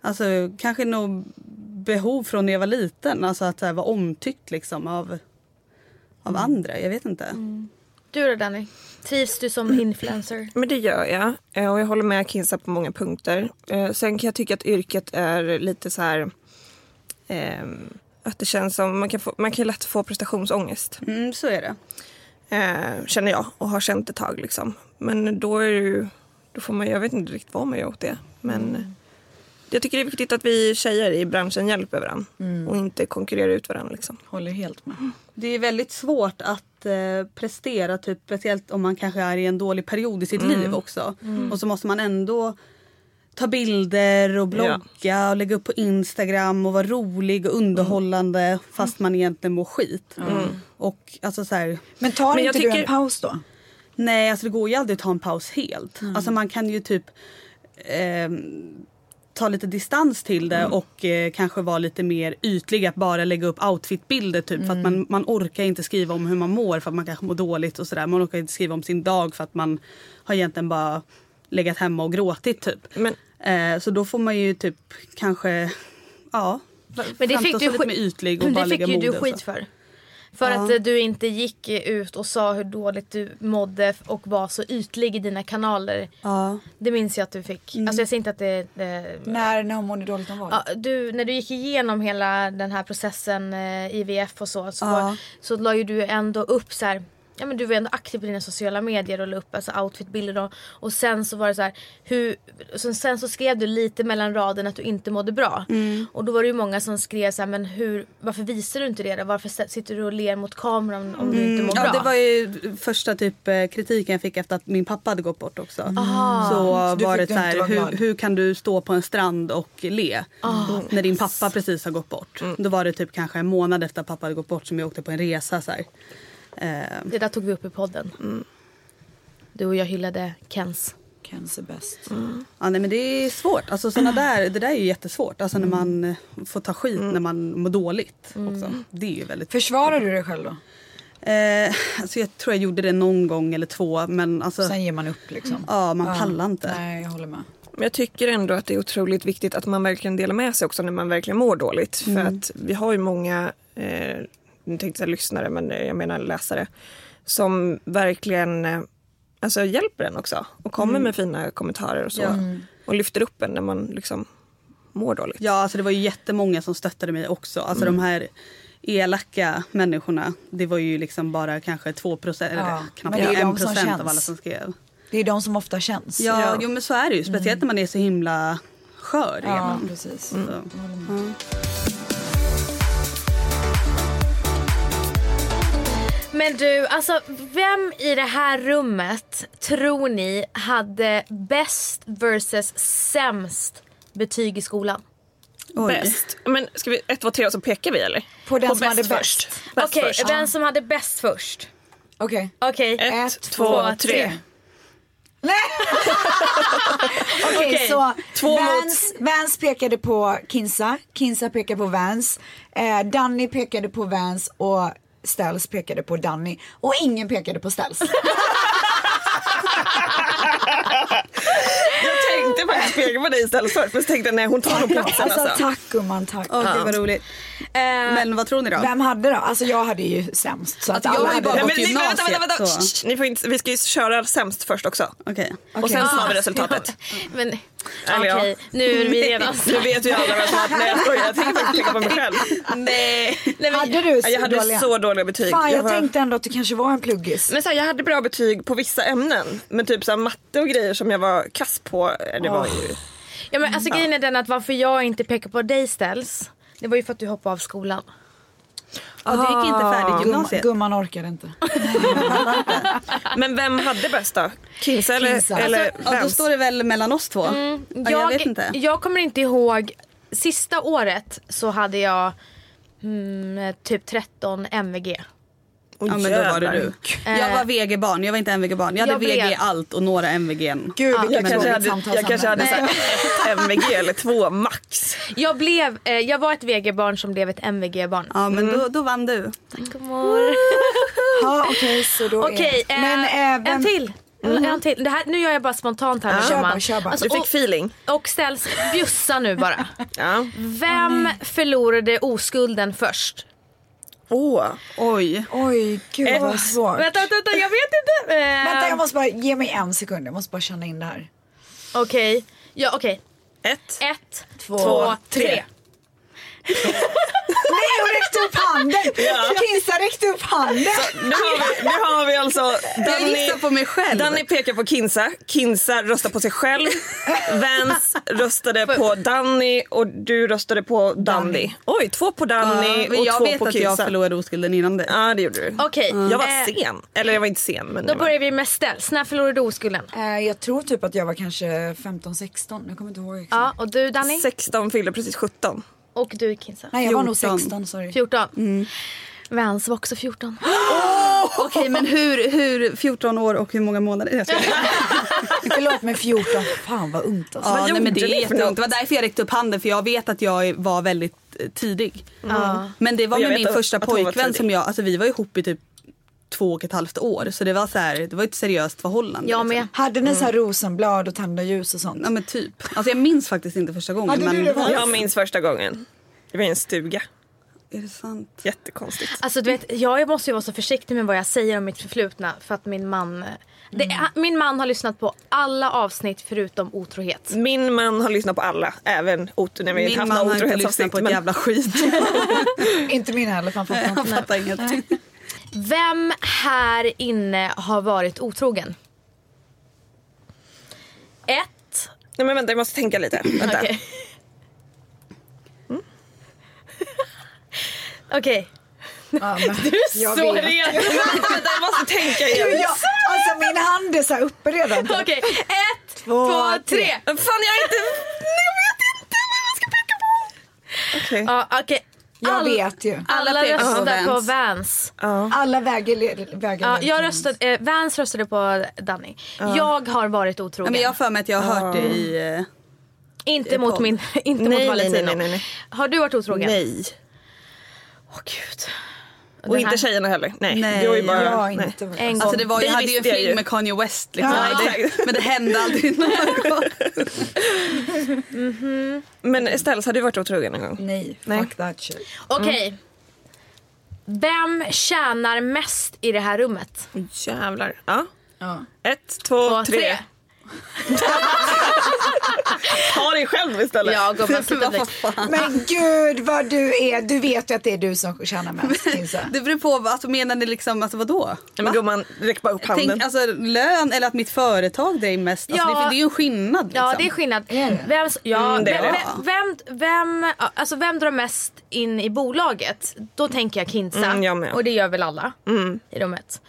Speaker 3: alltså kanske något behov från när jag var liten. Alltså att så här, vara omtyckt liksom av, av andra. Jag vet inte.
Speaker 1: Du då Danny? Trivs du som influencer?
Speaker 4: Men det gör jag. Eh, Och jag håller med Kinsa på många punkter. Eh, Sen kan jag tycka att yrket är lite så här... ehm, Att det känns som... Man kan, få, man kan lätt få prestationsångest.
Speaker 3: Mm, så är det.
Speaker 4: Eh, känner jag och har känt ett tag. Liksom. Men då är det ju... Då får man, jag vet inte riktigt vad man gör åt det. Men jag tycker det är viktigt att vi tjejer i branschen hjälper varandra. Och inte konkurrerar ut varandra. Liksom.
Speaker 2: Håller helt med.
Speaker 3: Det är väldigt svårt att eh, prestera, typ, speciellt om man kanske är i en dålig period i sitt liv också. Och så måste man ändå ta bilder och blogga och lägga upp på Instagram och vara rolig och underhållande fast man egentligen mår skit. Och alltså så här,
Speaker 2: Men tar
Speaker 4: Men jag
Speaker 2: inte du
Speaker 4: tycker-
Speaker 2: en paus då?
Speaker 3: Nej, alltså det går ju aldrig att ta en paus helt.
Speaker 1: Mm.
Speaker 3: Alltså man kan ju typ ehm, ta lite distans till
Speaker 1: Mm.
Speaker 3: det och eh, kanske vara lite mer ytlig. Att bara lägga upp outfitbilder typ. För att
Speaker 1: Mm.
Speaker 3: man, man orkar inte skriva om hur man mår för att man kanske mår dåligt och sådär. Man orkar inte skriva om sin dag för att man har egentligen bara legat hemma och gråtit typ.
Speaker 4: Men
Speaker 3: Eh, så då får man ju typ kanske, ja.
Speaker 1: Men det fick
Speaker 3: framstå som
Speaker 1: du
Speaker 3: lite
Speaker 1: skit-
Speaker 3: mer ytlig och
Speaker 1: Men
Speaker 3: bara
Speaker 1: det
Speaker 3: lägga
Speaker 1: fick ju du
Speaker 3: mode och så.
Speaker 1: skit för. För att eh, du inte gick ut och sa hur dåligt du mådde och var så ytlig i dina kanaler.
Speaker 3: Ja.
Speaker 1: Det minns jag att du fick.
Speaker 3: Mm.
Speaker 1: Alltså jag säger inte att det... det
Speaker 2: När, när hon mådde dåligt om vad?
Speaker 1: ja, du, när du gick igenom hela den här processen, eh, IVF och så, så,
Speaker 3: Ja.
Speaker 1: var, så la ju du ändå upp så här... Ja, men du var ändå aktiv på dina sociala medier och la upp alltså, outfitbilder. Och, och sen så var det så här, hur, så sen så skrev du lite mellan raderna att du inte mådde bra.
Speaker 3: Mm.
Speaker 1: Och då var det ju många som skrev så här, men hur, varför visar du inte det då? Varför s- sitter du och ler mot kameran om du inte mår
Speaker 3: Mm. Ja,
Speaker 1: bra?
Speaker 3: det var ju första typ eh, kritiken jag fick efter att min pappa hade gått bort också.
Speaker 1: Aha.
Speaker 3: Så
Speaker 2: Ah. Så du
Speaker 3: var det
Speaker 2: fick
Speaker 3: så
Speaker 2: inte vara
Speaker 3: här, hur,
Speaker 2: glad? Ah.
Speaker 3: hur kan du stå på en strand och le när din pappa precis har gått bort?
Speaker 2: Mm.
Speaker 3: Då var det typ kanske en månad efter att pappa hade gått bort som jag åkte på en resa. Så här. Eh,
Speaker 1: Det där tog vi upp i podden.
Speaker 3: Mm.
Speaker 1: Du och jag hyllade Kens.
Speaker 2: Kens är bäst.
Speaker 3: ja, nej, men det är svårt. Alltså, såna där, det där är ju jättesvårt. Alltså, när man eh, får ta skit
Speaker 2: Mm.
Speaker 3: när man mår dåligt. Också. Det är ju väldigt
Speaker 2: Försvarar du dig själv då?
Speaker 3: eh, alltså, Jag tror jag gjorde det någon gång eller två. Men alltså,
Speaker 2: Sen ger man upp liksom.
Speaker 3: ja, man pallar inte.
Speaker 2: Nej, jag håller med.
Speaker 4: Men jag tycker ändå att det är otroligt viktigt att man verkligen delar med sig också när man verkligen mår dåligt. För att vi har ju många, eh, nu tänkte jag säga lyssnare men eh, jag menar läsare, som verkligen eh, alltså hjälper en också och kommer med fina kommentarer och så.
Speaker 3: Ja.
Speaker 2: Mm.
Speaker 4: Och lyfter upp en när man liksom mår dåligt.
Speaker 3: Ja, alltså det var ju jättemånga som stöttade mig också. Alltså de här elaka människorna. Det var ju liksom bara kanske 2 procent, eller
Speaker 2: Ja,
Speaker 3: knappt
Speaker 2: men det är de
Speaker 3: 1
Speaker 2: som
Speaker 3: procent av
Speaker 2: känns.
Speaker 3: alla som skrev.
Speaker 2: Det är de som ofta känns.
Speaker 3: Ja, jo men så är det ju. Speciellt när man är så himla skör
Speaker 2: ja Mm.
Speaker 3: redan.
Speaker 2: precis.
Speaker 3: Så.
Speaker 1: Men du, alltså vem i det här rummet tror ni hade bäst versus sämst betyg i skolan?
Speaker 3: Oj.
Speaker 4: Bäst. Men ska vi ett, två, tre och så pekar vi eller?
Speaker 2: På den
Speaker 4: På
Speaker 2: som hade
Speaker 4: bäst
Speaker 2: bäst.
Speaker 4: först. Bäst
Speaker 1: Okej,
Speaker 4: först.
Speaker 1: vem som hade bäst först?
Speaker 2: Okej.
Speaker 1: Okej. Eh,
Speaker 4: Ett,
Speaker 2: Ett,
Speaker 4: två,
Speaker 1: två,
Speaker 4: tre.
Speaker 1: tre.
Speaker 2: Nej! Okej,
Speaker 1: Okej,
Speaker 2: så
Speaker 4: två mot-
Speaker 2: Vans, Vans pekade på Kinsa, Kinsa pekade på Vans, eh, Danny pekade på Vans och Ställs pekade på Danny. Och ingen pekade på Ställs.
Speaker 4: Jag tänkte faktiskt peka på dig istället först men så tänkte jag nej hon tar nog platsen
Speaker 2: alltså,
Speaker 4: alltså.
Speaker 2: tack gumman, tack.
Speaker 3: Åh, gud, vad roligt. men vad tror ni då?
Speaker 2: Vem hade då? Alltså jag hade ju sämst. Så att
Speaker 4: Alltså,
Speaker 2: alla
Speaker 3: jag har
Speaker 2: hade
Speaker 3: ju bara
Speaker 4: Nej,
Speaker 2: det.
Speaker 4: men
Speaker 3: gått
Speaker 4: ni, vänta, vänta,
Speaker 3: gymnasiet,
Speaker 4: vänta.
Speaker 3: så-
Speaker 4: Shh, Ni får inte, vi ska ju köra sämst först också.
Speaker 3: Okej.
Speaker 4: Och sen
Speaker 2: Okej.
Speaker 4: tar vi
Speaker 1: Ah,
Speaker 4: resultatet.
Speaker 1: Men
Speaker 4: Eller
Speaker 1: okej,
Speaker 4: ja.
Speaker 1: nu är vi redan...
Speaker 4: Nu vet ju alla vem som har Nej jag skojar, jag tänker faktiskt peka på mig själv.
Speaker 3: Nej.
Speaker 1: Nej, men,
Speaker 2: Hade du så
Speaker 4: Jag hade
Speaker 2: dåliga?
Speaker 4: så dåliga betyg.
Speaker 2: Fan jag
Speaker 4: var-
Speaker 2: tänkte ändå att det kanske var en pluggis.
Speaker 4: men så här, jag hade bra betyg på vissa ämnen. Men typ så här, matte och grejer som jag var kass på. eh, Det var ju...
Speaker 1: ja, men alltså grejen är den att varför jag inte pekar på dig ställs, det var ju för att du hoppade av skolan.
Speaker 3: Ja, du gick inte färdigt
Speaker 2: Gumman,
Speaker 3: gymnasiet.
Speaker 2: gumman orkade inte.
Speaker 4: Men vem hade bäst då? Kinsa eller,
Speaker 2: Kinsa.
Speaker 4: eller
Speaker 3: Alltså, Ja, då
Speaker 4: Vans?
Speaker 3: står det väl mellan oss två. ja, jag vet inte.
Speaker 1: jag kommer inte ihåg. Sista året så hade jag Mm, typ 13 MVG.
Speaker 4: Och
Speaker 3: Ja men då var det
Speaker 4: jävlar.
Speaker 3: du.
Speaker 1: Eh.
Speaker 3: Jag var VG-barn, jag var inte MVG-barn. Jag hade
Speaker 1: Jag
Speaker 3: VG i
Speaker 1: vet.
Speaker 3: allt och några MVG. n.
Speaker 2: Gud
Speaker 1: Ja,
Speaker 2: vilket
Speaker 4: Jag kanske
Speaker 2: tråkigt
Speaker 4: hade, jag kanske hade
Speaker 2: samtalsämne.
Speaker 4: så här ett MVG eller två max.
Speaker 1: Jag, blev, eh, jag var ett VG-barn som blev ett MVG-barn.
Speaker 3: Ja men då, då vann du.
Speaker 1: Tack mor.
Speaker 2: Ja okej så då
Speaker 1: Okej,
Speaker 2: är...
Speaker 1: eh,
Speaker 2: Men eh, vem...
Speaker 1: en till. En till. Det här, nu gör jag bara spontant här
Speaker 2: Ja.
Speaker 1: nu
Speaker 2: Kör
Speaker 1: gumman.
Speaker 2: bara, kör bara.
Speaker 4: Du fick feeling.
Speaker 1: och, och ställs, bjussa nu bara.
Speaker 4: Ja.
Speaker 1: Vem förlorade oskulden först?
Speaker 4: Åh.
Speaker 3: Oj.
Speaker 2: Oj gud vad
Speaker 4: Ett-
Speaker 2: svårt.
Speaker 1: Vänta, vänta, vänta, jag vet inte. Eh,
Speaker 2: Vänta jag måste bara, ge mig en sekund, jag måste bara känna in det här.
Speaker 1: Okej, ja okej.
Speaker 4: Ett.
Speaker 1: Ett, två,
Speaker 4: tre.
Speaker 1: tre.
Speaker 2: Nej hon räckte upp handen! Kinsa räckte upp handen!
Speaker 4: Nu har vi, nu har vi alltså
Speaker 3: Jag
Speaker 4: Danny,
Speaker 3: gissar på mig själv.
Speaker 4: Danny pekar på Kinsa, Kinsa röstar på sig själv, Vans röstade på Danny och du röstade på Danny. Oj, två på Danny
Speaker 3: Ja, men
Speaker 4: och
Speaker 3: jag
Speaker 4: två
Speaker 3: vet
Speaker 4: på
Speaker 3: att
Speaker 4: Kinsa.
Speaker 3: jag förlorade oskulden innan det.
Speaker 4: Ja, det gjorde du. Mm.
Speaker 1: Okej,
Speaker 4: Jag var
Speaker 1: eh,
Speaker 4: sen. Eller jag var inte sen. Men
Speaker 1: Då
Speaker 4: jag var-
Speaker 1: börjar vi med ställs. När förlorade du oskulden?
Speaker 2: Eh, jag tror typ att jag var kanske 15-16, jag kommer inte ihåg. exakt.
Speaker 1: Ja, och du Danny?
Speaker 4: 16 fyllde precis 17.
Speaker 1: Och du Kinsa?
Speaker 2: Nej Mm. jag var nog
Speaker 3: 14.
Speaker 2: 16, sorry.
Speaker 1: 14. Vans var också 14.
Speaker 3: Okej men hur, hur 14 år och hur många månader? Jag ska-
Speaker 2: Förlåt men 14, fan vad ungt alltså.
Speaker 4: Vad
Speaker 3: Ja, nej, men det
Speaker 4: gjorde
Speaker 3: är
Speaker 4: ni för något?
Speaker 3: jätteungt. Det var därför jag räckte upp handen för jag vet att jag var väldigt eh, tidig.
Speaker 1: Ja.
Speaker 3: Men det var
Speaker 4: Och jag
Speaker 3: med
Speaker 4: vet
Speaker 3: min
Speaker 4: att-
Speaker 3: första
Speaker 4: att hon var
Speaker 3: pojkvän
Speaker 4: tidig.
Speaker 3: som jag, alltså vi var ihop i typ två och ett halvt år. Så det var så här, det var ett seriöst förhållande.
Speaker 1: Jag
Speaker 3: liksom.
Speaker 1: med.
Speaker 2: Hade ni så här rosenblad och tända ljus och sånt?
Speaker 3: Ja men typ. Alltså jag minns faktiskt inte första gången.
Speaker 2: Hade
Speaker 3: men...
Speaker 2: du det var-
Speaker 4: Jag minns första gången. Det var i en stuga.
Speaker 3: Är det sant?
Speaker 4: Jättekonstigt.
Speaker 1: Alltså du vet, jag måste ju vara så försiktig med vad jag säger om mitt förflutna för att min man... Det, ha- Min man har lyssnat på alla avsnitt förutom otrohet.
Speaker 4: Min man har lyssnat på alla, även ot- när vi
Speaker 3: Min
Speaker 4: har
Speaker 3: man
Speaker 4: haft några
Speaker 3: har inte lyssnat
Speaker 4: otrohetsavsnitt.
Speaker 3: på ett
Speaker 4: men-
Speaker 3: jävla skit.
Speaker 2: Inte min heller, fan fattar
Speaker 3: Han
Speaker 2: inte.
Speaker 3: fattar inget.
Speaker 1: Vem här inne har varit otrogen? Ett.
Speaker 4: Nej men vänta jag måste tänka lite. Vänta.
Speaker 1: Okej. Okej.
Speaker 2: Ja, men jag
Speaker 1: Så
Speaker 2: vet.
Speaker 1: redo.
Speaker 4: vänta jag måste tänka igen.
Speaker 2: Ja, alltså min hand är så här uppe redan.
Speaker 1: Okej. Ett, två, tre.
Speaker 4: Fan jag är inte... Nej, Jag vet inte vad jag ska peka på. Okej.
Speaker 1: Ja, okej.
Speaker 2: Jag
Speaker 1: All-
Speaker 2: vet ju.
Speaker 1: Alla,
Speaker 3: Alla pekar på
Speaker 1: röstar på
Speaker 3: Vans.
Speaker 1: Vans.
Speaker 2: Alla väger, väger
Speaker 1: Ja,
Speaker 2: lika.
Speaker 1: jag röstade, eh, Vans röstade på Danny. Jag har varit otrogen.
Speaker 3: Nej, men jag har för mig att jag har hört det i... eh,
Speaker 1: Inte mot
Speaker 3: podd.
Speaker 1: min, inte
Speaker 4: Nej,
Speaker 1: mot
Speaker 4: nej,
Speaker 1: Valentino.
Speaker 4: nej, nej, nej.
Speaker 1: Har du varit otrogen?
Speaker 4: Nej.
Speaker 1: Åh gud.
Speaker 4: Och
Speaker 1: Den
Speaker 4: inte
Speaker 1: här-
Speaker 4: tjejerna heller. Nej.
Speaker 3: Nej,
Speaker 4: det var ju bara...
Speaker 2: Jag har
Speaker 4: nej.
Speaker 2: inte
Speaker 1: En gång.
Speaker 3: Alltså det var,
Speaker 4: Det
Speaker 3: jag hade ju en
Speaker 4: visste jag ju.
Speaker 3: fling med Kanye West liksom.
Speaker 4: Ja,
Speaker 3: det,
Speaker 4: exakt.
Speaker 3: men det hände aldrig någon
Speaker 4: Men Ställs, har du varit otrogen någon gång?
Speaker 2: Nej,
Speaker 4: Nej.
Speaker 2: fuck that shit.
Speaker 1: Okej.
Speaker 4: Mm.
Speaker 1: Vem tjänar mest i det här rummet?
Speaker 4: Åh jävlar. Ja.
Speaker 2: Ja.
Speaker 4: Ett, två,
Speaker 1: Två,
Speaker 4: tre.
Speaker 1: tre.
Speaker 4: Ta dig själv istället.
Speaker 1: Ja, gumman. sluta bli-
Speaker 2: Men gud vad du är, du vet ju att det är du som tjänar mest Kinsa.
Speaker 3: Det beror på, vad- alltså, menar ni liksom, alltså vadå?
Speaker 4: Nej, men gumman, räck bara upp handen.
Speaker 3: Tänk, alltså lön eller att mitt företag det är mest, alltså,
Speaker 1: Ja.
Speaker 3: det, det är ju en skillnad liksom.
Speaker 1: Ja, det är skillnad. Vem, s- ja,
Speaker 4: Mm, det är
Speaker 1: vem,
Speaker 4: det.
Speaker 1: vem, vem, ja, alltså vem drar mest in i bolaget? Då tänker jag Kinsa.
Speaker 4: Mm, jag med. Mm.
Speaker 1: och det gör väl alla i rummet.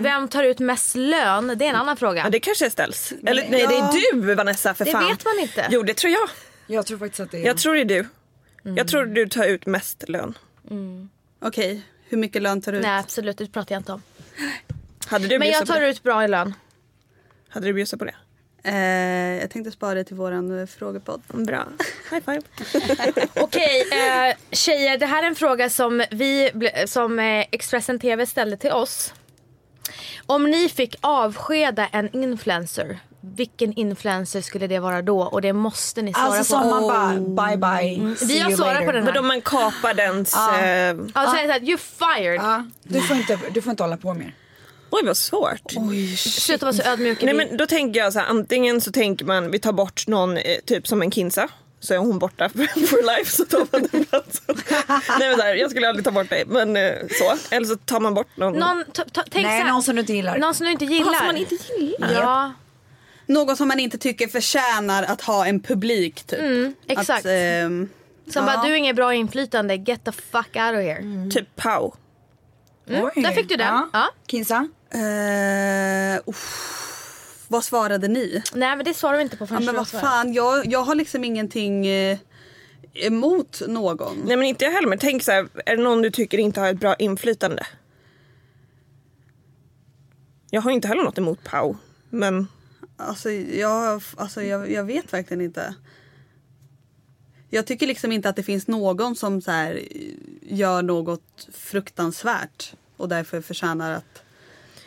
Speaker 1: Vem tar ut mest lön? Det är en annan fråga.
Speaker 4: Ja, det kanske är Ställs. Eller nej, det är du Vanessa för
Speaker 1: Det
Speaker 4: fan.
Speaker 1: vet man inte.
Speaker 4: Jo, det tror jag.
Speaker 2: Jag tror faktiskt att det är...
Speaker 4: Jag tror det är du.
Speaker 1: Mm.
Speaker 4: Jag tror du tar ut mest lön.
Speaker 3: Okej, hur mycket lön tar du ut?
Speaker 1: Nej, absolut. Det pratar jag inte om.
Speaker 4: Hade du
Speaker 1: Men
Speaker 4: bjussat
Speaker 1: jag
Speaker 4: på
Speaker 1: tar
Speaker 4: det?
Speaker 1: ut bra i lön.
Speaker 4: Hade du bjussat på det?
Speaker 3: Eh, jag tänkte spara det till våran eh, frågepodd.
Speaker 4: Mm, Bra. High five.
Speaker 1: Okej, eh, tjejer. Det här är en fråga som, vi, ble- som eh, Expressen TV ställde till oss. Om ni fick avskeda en influencer, vilken influencer skulle det vara då? Och det måste ni svara
Speaker 2: Alltså
Speaker 1: på.
Speaker 2: som man bara bye bye, see
Speaker 1: Vi har
Speaker 2: you
Speaker 1: svarat
Speaker 2: later.
Speaker 1: på den här.
Speaker 4: Vadå man kapar dens... Eh...
Speaker 1: Ja, så är det så här, you're fired.
Speaker 2: Ja, du, får inte, du får inte hålla på mer.
Speaker 4: Oj vad svårt.
Speaker 3: Oj,
Speaker 1: Sluta vara så ödmjuk.
Speaker 4: Nej men då tänker jag så här, antingen så tänker man vi tar bort någon eh, typ som en Kinsa. Så är hon borta for life så tar man den platsen. Nej men så här, jag skulle aldrig ta bort dig men eh, så. Eller så tar man bort någon.
Speaker 1: Någon, ta- ta- tänk
Speaker 2: Nej,
Speaker 1: så här,
Speaker 2: någon som du inte gillar.
Speaker 1: någon som du inte gillar.
Speaker 4: som man inte gillar.
Speaker 1: Ja,
Speaker 3: Någon som man inte tycker förtjänar att ha en publik typ.
Speaker 1: Mm, exakt.
Speaker 3: Att, ehm,
Speaker 1: som bara, du är inget bra inflytande, get the fuck out of here.
Speaker 4: Typ Pau.
Speaker 2: Oj.
Speaker 1: där fick du den. Ja.
Speaker 2: Kinsa?
Speaker 3: eh, uff, vad svarade ni?
Speaker 1: Nej men det svarar vi inte på
Speaker 3: Ja,
Speaker 1: förrän
Speaker 3: men
Speaker 1: du
Speaker 3: vad
Speaker 1: svarar.
Speaker 3: fan, jag, jag har liksom ingenting... eh, emot någon.
Speaker 4: Nej men inte jag heller men tänk så här, är det någon du tycker inte har ett bra inflytande? Jag har inte heller något emot Pau men
Speaker 3: Alltså, jag, alltså jag, jag vet verkligen inte. Jag tycker liksom inte att det finns någon som så här, eh, gör något fruktansvärt och därför förtjänar att...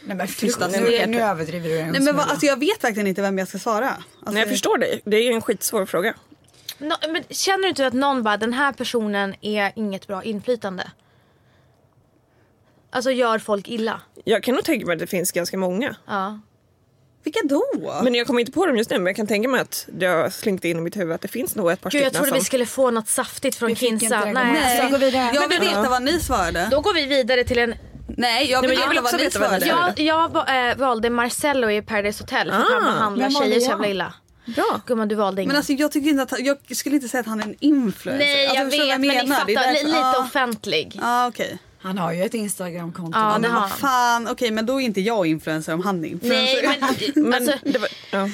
Speaker 2: Nej men
Speaker 3: Tysta
Speaker 2: nu,
Speaker 3: nyheter.
Speaker 2: nu överdriver du en
Speaker 3: Nej, men vad,
Speaker 2: smula.
Speaker 3: alltså jag vet verkligen inte vem jag ska svara. Alltså,
Speaker 4: nej, jag förstår dig. Det är en skitsvår fråga.
Speaker 1: Nå- men känner du inte att någon bara, den här personen är inget bra inflytande? Alltså gör folk illa?
Speaker 4: Jag kan nog tänka mig att det finns ganska många.
Speaker 1: Ja.
Speaker 3: Vilka då?
Speaker 4: Men jag kommer inte på dem just nu men jag kan tänka mig att det har slinkt in i mitt huvud att det finns nog ett par
Speaker 1: Gud jag
Speaker 4: stycken
Speaker 1: trodde
Speaker 4: som...
Speaker 1: vi skulle få något saftigt från
Speaker 2: Vi fick inte
Speaker 1: Kinsa.
Speaker 2: det.
Speaker 1: Nej.
Speaker 3: Nej.
Speaker 2: Alltså, gå vidare.
Speaker 3: Jag vill veta vad ni svarade.
Speaker 1: Då går vi vidare till en...
Speaker 3: Nej, jag vill,
Speaker 4: men jag vill
Speaker 3: veta
Speaker 4: också
Speaker 3: vad ni
Speaker 4: veta vad ni
Speaker 3: svarade.
Speaker 4: svarade.
Speaker 1: Jag, jag va- eh, valde Marcello i Paradise Hotel för att han
Speaker 4: Ah.
Speaker 1: behandlar
Speaker 2: Vem valde
Speaker 1: tjejer så
Speaker 2: jag?
Speaker 1: jävla illa.
Speaker 4: Bra.
Speaker 1: Gumman du valde ingen.
Speaker 3: Men alltså jag tycker inte att han, jag skulle inte säga att han är en influencer.
Speaker 1: Nej jag
Speaker 3: alltså, förstår du
Speaker 1: vet
Speaker 3: vad jag
Speaker 1: men ni
Speaker 3: menar? Det är
Speaker 1: fattar, li-
Speaker 3: därför-
Speaker 1: lite
Speaker 3: Ja.
Speaker 1: offentlig.
Speaker 3: Ja okej.
Speaker 2: Han har ju ett instagramkonto.
Speaker 1: Ja,
Speaker 3: Ja,
Speaker 1: det
Speaker 3: men
Speaker 1: har
Speaker 3: vad
Speaker 1: han.
Speaker 3: fan, okej men då är inte jag influencer om han är influencer.
Speaker 1: Nej men,
Speaker 4: Men
Speaker 1: alltså,
Speaker 4: det, var, ja.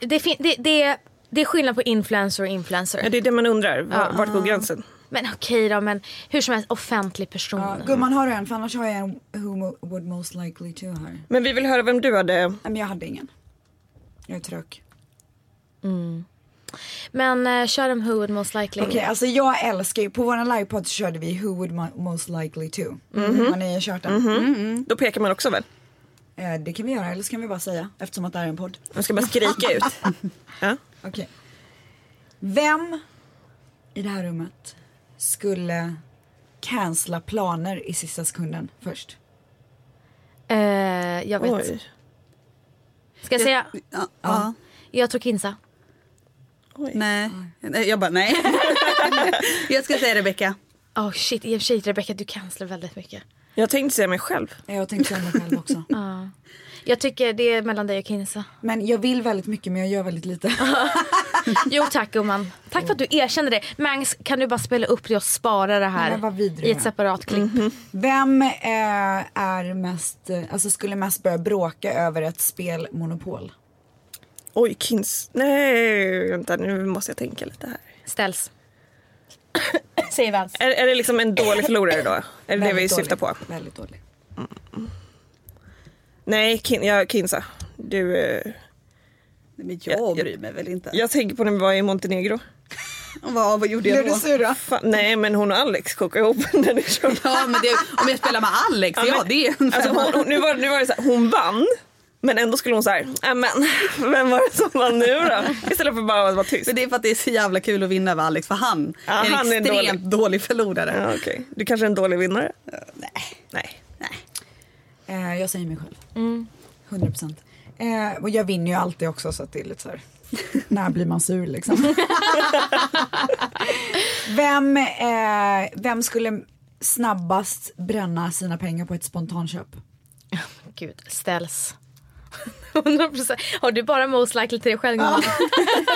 Speaker 1: det, fin- det, det, det är skillnad på influencer och influencer.
Speaker 4: Ja, det är det man undrar. Var, vart går gränsen?
Speaker 1: Men okej då men hur som helst offentlig person.
Speaker 2: Ja, gumman har du en? För annars har jag en who mo- would most likely to här. Nej
Speaker 4: Men vi vill höra vem du hade.
Speaker 2: men jag hade ingen. Jag är trök.
Speaker 1: Men eh, kör dem Who would most likely.
Speaker 2: Okej, alltså jag älskar ju, på våran livepodd så körde vi Who would mo- most likely to.
Speaker 4: Mhm.
Speaker 2: Har ni kört den?
Speaker 1: Mm.
Speaker 4: Då pekar man också väl?
Speaker 2: Eh, det kan vi göra, eller så kan vi bara säga eftersom att det här är en podd.
Speaker 4: Man ska bara skrika ut. Ja.
Speaker 2: Okej. Vem i det här rummet skulle cancella planer i sista sekunden först?
Speaker 1: Eh, jag vet.
Speaker 4: Oj.
Speaker 1: Ska jag säga?
Speaker 3: Ja, ja.
Speaker 1: Jag tror Kinsa.
Speaker 3: Nej. nej, jag bara nej. jag ska säga Rebecka.
Speaker 1: Oh shit, i och för sig Rebecca du cancelar väldigt mycket.
Speaker 4: Jag tänkte säga mig själv.
Speaker 2: Eh, Jag tänkte säga mig själv också.
Speaker 1: Jag tycker det är mellan dig och Kinsa.
Speaker 2: Men jag vill väldigt mycket men jag gör väldigt lite.
Speaker 1: Jo tack gumman. Tack för att du erkände det. Mangs kan du bara spela upp det och spara det här
Speaker 2: Men vad vidrig
Speaker 1: i
Speaker 2: jag
Speaker 1: ett
Speaker 2: är.
Speaker 1: separat klipp.
Speaker 2: Vem eh, är mest, eh, alltså skulle mest börja bråka över ett spelmonopol?
Speaker 4: Oj, Kins. Nej, vänta nu måste jag tänka lite här.
Speaker 1: Ställs. Säger Vans.
Speaker 4: Är, är det liksom en dålig förlorare då? Är det det vi
Speaker 2: Väldigt
Speaker 4: syftar på?
Speaker 2: dålig. Väldigt dålig.
Speaker 4: Nej, kin, ja, Kinsa. Du, eh,
Speaker 3: Nej, men
Speaker 4: Jag-
Speaker 3: jag
Speaker 4: jag-
Speaker 3: bryr mig väl inte.
Speaker 4: jag tänker på när vi var i Montenegro.
Speaker 3: Vad, vad gjorde
Speaker 2: Blev
Speaker 3: jag
Speaker 2: du
Speaker 3: då?
Speaker 2: sur då?
Speaker 4: Fan, nej, men hon och Alex kokade ihop när ni körde.
Speaker 3: Ja, men det, om jag spelar med Alex, ja,
Speaker 4: men-
Speaker 3: det är en
Speaker 4: alltså, hon, hon- nu, var, nu var det så här, hon vann. Men ändå skulle hon såhär, men vem var det som vann nu då? Istället för bara att vara tyst.
Speaker 3: Men det är för att det är så jävla kul att vinna med Alex för han
Speaker 4: Ja,
Speaker 3: är en
Speaker 4: han är en
Speaker 3: extremt dålig, förlorare.
Speaker 4: Ja, okej. Du kanske är en dålig vinnare?
Speaker 3: Nej.
Speaker 4: Nej.
Speaker 3: Nej.
Speaker 2: Eh, jag säger mig själv. 100 procent. Eh, och jag vinner ju alltid också så att det är lite så här. när blir man sur liksom? vem, eh, vem skulle snabbast bränna sina pengar på ett spontanköp?
Speaker 1: Gud, ställs. 100%. Har du bara most likely till dig själv gumman?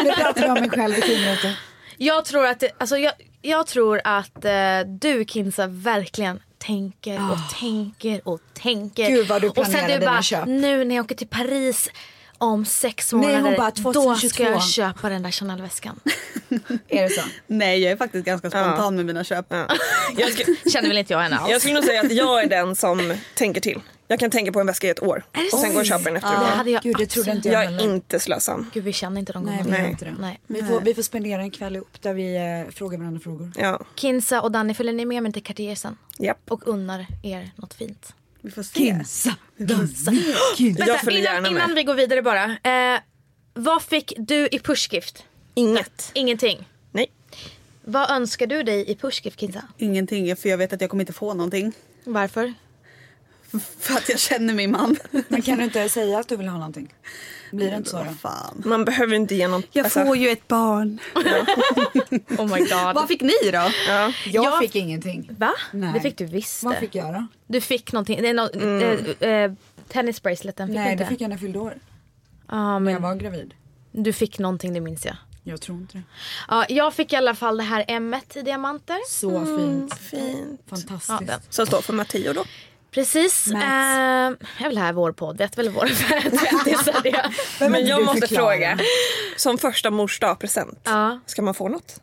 Speaker 2: Nu pratar jag om mig själv i tio minuter.
Speaker 1: Jag tror att, det- alltså jag, jag tror att eh, du Kinsa verkligen tänker och tänker och tänker.
Speaker 2: Ah. Gud, vad du
Speaker 1: och sen
Speaker 2: planerar
Speaker 1: du
Speaker 2: dina
Speaker 1: bara,
Speaker 2: köp.
Speaker 1: nu när jag åker till Paris om sex
Speaker 2: Nej,
Speaker 1: månader
Speaker 2: hon bara,
Speaker 1: då ska
Speaker 2: 2022.
Speaker 1: jag köpa den där Chanel-väskan.
Speaker 2: Är det så?
Speaker 3: Nej, jag är faktiskt ganska spontan
Speaker 4: Ja.
Speaker 3: med mina köp.
Speaker 4: Ja. Jag, sku,
Speaker 1: Känner väl inte jag henne alls.
Speaker 4: jag skulle nog säga att jag är den som tänker till. Jag kan tänka på en väska i ett år
Speaker 1: Är det
Speaker 4: och sen
Speaker 1: så?
Speaker 4: går jag och köper den
Speaker 1: det
Speaker 4: efter.
Speaker 1: hade jag
Speaker 2: Gud det trodde
Speaker 1: absolut-
Speaker 2: inte jag
Speaker 4: Jag är
Speaker 2: heller.
Speaker 4: inte slösam.
Speaker 1: Gud vi känner inte dem
Speaker 2: Nej, vi
Speaker 1: gumman.
Speaker 2: gör
Speaker 4: Nej.
Speaker 2: inte det.
Speaker 1: Nej.
Speaker 2: Vi, får, vi får spendera en kväll ihop där vi eh, frågar varandra frågor.
Speaker 4: Ja.
Speaker 1: Kinsa och Danny följer ni med mig till Cartier sen?
Speaker 4: Japp.
Speaker 1: Och unnar er något fint.
Speaker 3: Vi får se.
Speaker 2: Kinsa! Kinsa! Kinsa.
Speaker 4: Jag följer
Speaker 1: innan,
Speaker 4: gärna
Speaker 1: innan
Speaker 4: med.
Speaker 1: vi går vidare bara. Eh, vad fick du i pushgift?
Speaker 4: Inget.
Speaker 1: Ingenting.
Speaker 4: Nej.
Speaker 1: Vad önskar du dig i pushgift Kinsa?
Speaker 3: Ingenting, för jag vet att jag kommer inte få någonting.
Speaker 1: Varför?
Speaker 3: För att jag känner min man.
Speaker 2: Men kan du inte säga att du vill ha någonting? Blir det inte så då?
Speaker 3: Vad fan.
Speaker 4: Man behöver inte ge någon...
Speaker 3: Jag
Speaker 4: alltså,
Speaker 3: får ju ett barn.
Speaker 1: Oh my god.
Speaker 3: Vad fick ni då?
Speaker 4: ja.
Speaker 2: Jag,
Speaker 1: Jag-
Speaker 2: fick ingenting.
Speaker 1: Va?
Speaker 2: Nej.
Speaker 1: Det fick du visst.
Speaker 2: Vad fick jag då?
Speaker 1: Du fick någonting. Det är no- eh, eh, tennisbraceleten fick du
Speaker 2: Nej
Speaker 1: Typ inte.
Speaker 2: det fick jag när jag fyllde år.
Speaker 1: Ja,
Speaker 2: När
Speaker 1: men
Speaker 2: jag var gravid.
Speaker 1: Du fick någonting, det minns jag.
Speaker 2: Jag tror inte det.
Speaker 1: Ja, jag fick i alla fall det här m i diamanter.
Speaker 2: Så fint.
Speaker 4: Fint.
Speaker 1: Mm. Ja,
Speaker 2: Fantastiskt.
Speaker 1: den.
Speaker 4: Som står för Matteo då.
Speaker 1: Precis.
Speaker 2: Mats.
Speaker 1: Ehm, jag vill ha vår podd. Vet väl våra tvättisar det.
Speaker 2: Vem är
Speaker 4: Men
Speaker 2: det
Speaker 4: jag
Speaker 2: du
Speaker 4: måste
Speaker 2: förklarar?
Speaker 4: fråga. Som första mors present
Speaker 1: Ja.
Speaker 4: ska man få något?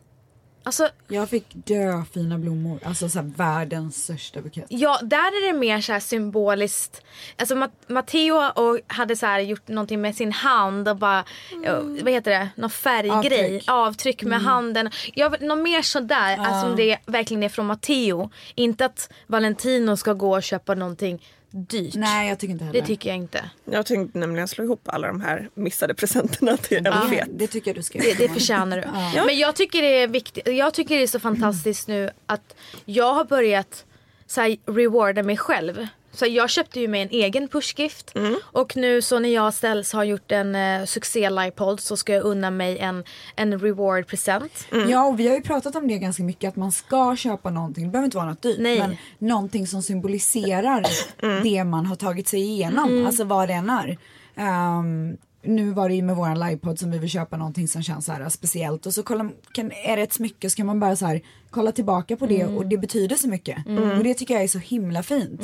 Speaker 1: Alltså,
Speaker 2: Jag fick dö fina blommor. Alltså så här, världens största bukett.
Speaker 1: Ja, där är det mer så här symboliskt. Alltså Mat- Matteo och hade så här gjort någonting med sin hand och bara, eh, vad heter det, någon färggrej.
Speaker 2: Mm. Avtryck. Mm.
Speaker 1: Avtryck, med handen. Jag, vill- något mer sådär, uh. alltså om det verkligen är från Matteo. Inte att Valentino ska gå och köpa någonting dyrt.
Speaker 2: Nej jag tycker inte heller.
Speaker 1: Det tycker jag inte.
Speaker 4: Jag tänkte nämligen slå ihop alla de här missade presenterna till en fet.
Speaker 2: det tycker jag du ska
Speaker 1: Det, det
Speaker 2: göra.
Speaker 1: förtjänar du. Men jag tycker det är viktigt. Jag tycker det är så fantastiskt nu att jag har börjat så här, rewarda mig själv. Så jag köpte ju mig en egen pushgift och nu så när jag ställs har gjort en eh, succé livepodd så ska jag unna mig en, en reward present.
Speaker 2: Ja och vi har ju pratat om det ganska mycket att man ska köpa någonting, det behöver inte vara något dyrt
Speaker 1: Nej.
Speaker 2: men någonting som symboliserar det man har tagit sig igenom, alltså vad det än är. Ehm, nu var det ju med våran livepodd som vi vill köpa någonting som känns så här speciellt och så kollar, kan, är det ett smycke så kan man bara så här kolla tillbaka på det och det betyder så mycket och det tycker jag är så himla fint.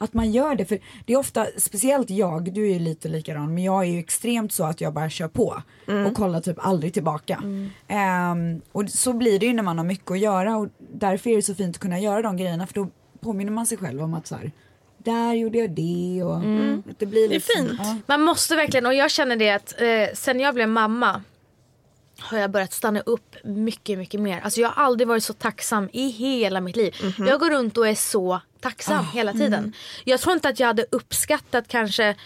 Speaker 2: Att man gör det, för det är ofta, speciellt jag, du är ju lite likadan, men jag är ju extremt så att jag bara kör på
Speaker 1: Mm.
Speaker 2: och kollar typ aldrig tillbaka. Ehm, och så blir det ju när man har mycket att göra och därför är det så fint att kunna göra de grejerna för då påminner man sig själv om att så här, där gjorde jag det och
Speaker 1: Mm.
Speaker 2: att det blir
Speaker 4: Det är
Speaker 2: liksom,
Speaker 4: fint.
Speaker 2: ja.
Speaker 1: Man måste verkligen, och jag känner det att eh, sen jag blev mamma har jag börjat stanna upp mycket, mycket mer. Alltså jag har aldrig varit så tacksam i hela mitt liv. Jag går runt och är så tacksam hela tiden. Jag tror inte att jag hade uppskattat kanske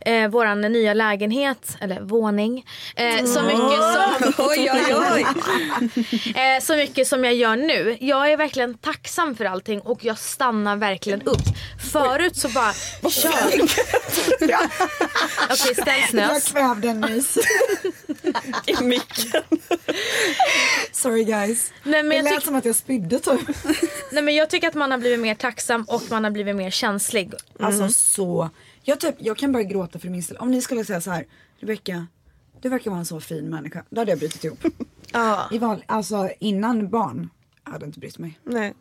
Speaker 1: eh, våran nya lägenhet, eller våning, eh, så mycket som...
Speaker 3: Oj, oj, oj.
Speaker 1: Eh, så mycket som jag gör nu. Jag är verkligen tacksam för allting och jag stannar verkligen upp. Förut så bara kör. Okej, ställ
Speaker 2: Jag
Speaker 1: snös.
Speaker 2: kvävde en mus.
Speaker 4: I micken.
Speaker 2: Sorry guys.
Speaker 1: Nej, men
Speaker 2: det
Speaker 1: jag
Speaker 2: lät
Speaker 1: tyck-
Speaker 2: som att jag spydde typ.
Speaker 1: Nej, men jag tycker att man har blivit mer tacksam och man har blivit mer känslig.
Speaker 2: Alltså så. Jag, typ, jag kan börja gråta för min ställe. Om ni skulle säga så här, Rebecka, du verkar vara en så fin människa. Då hade jag brutit ihop.
Speaker 1: Ja.
Speaker 2: I val, alltså innan barn. Jag hade inte brytt mig.
Speaker 4: Nej.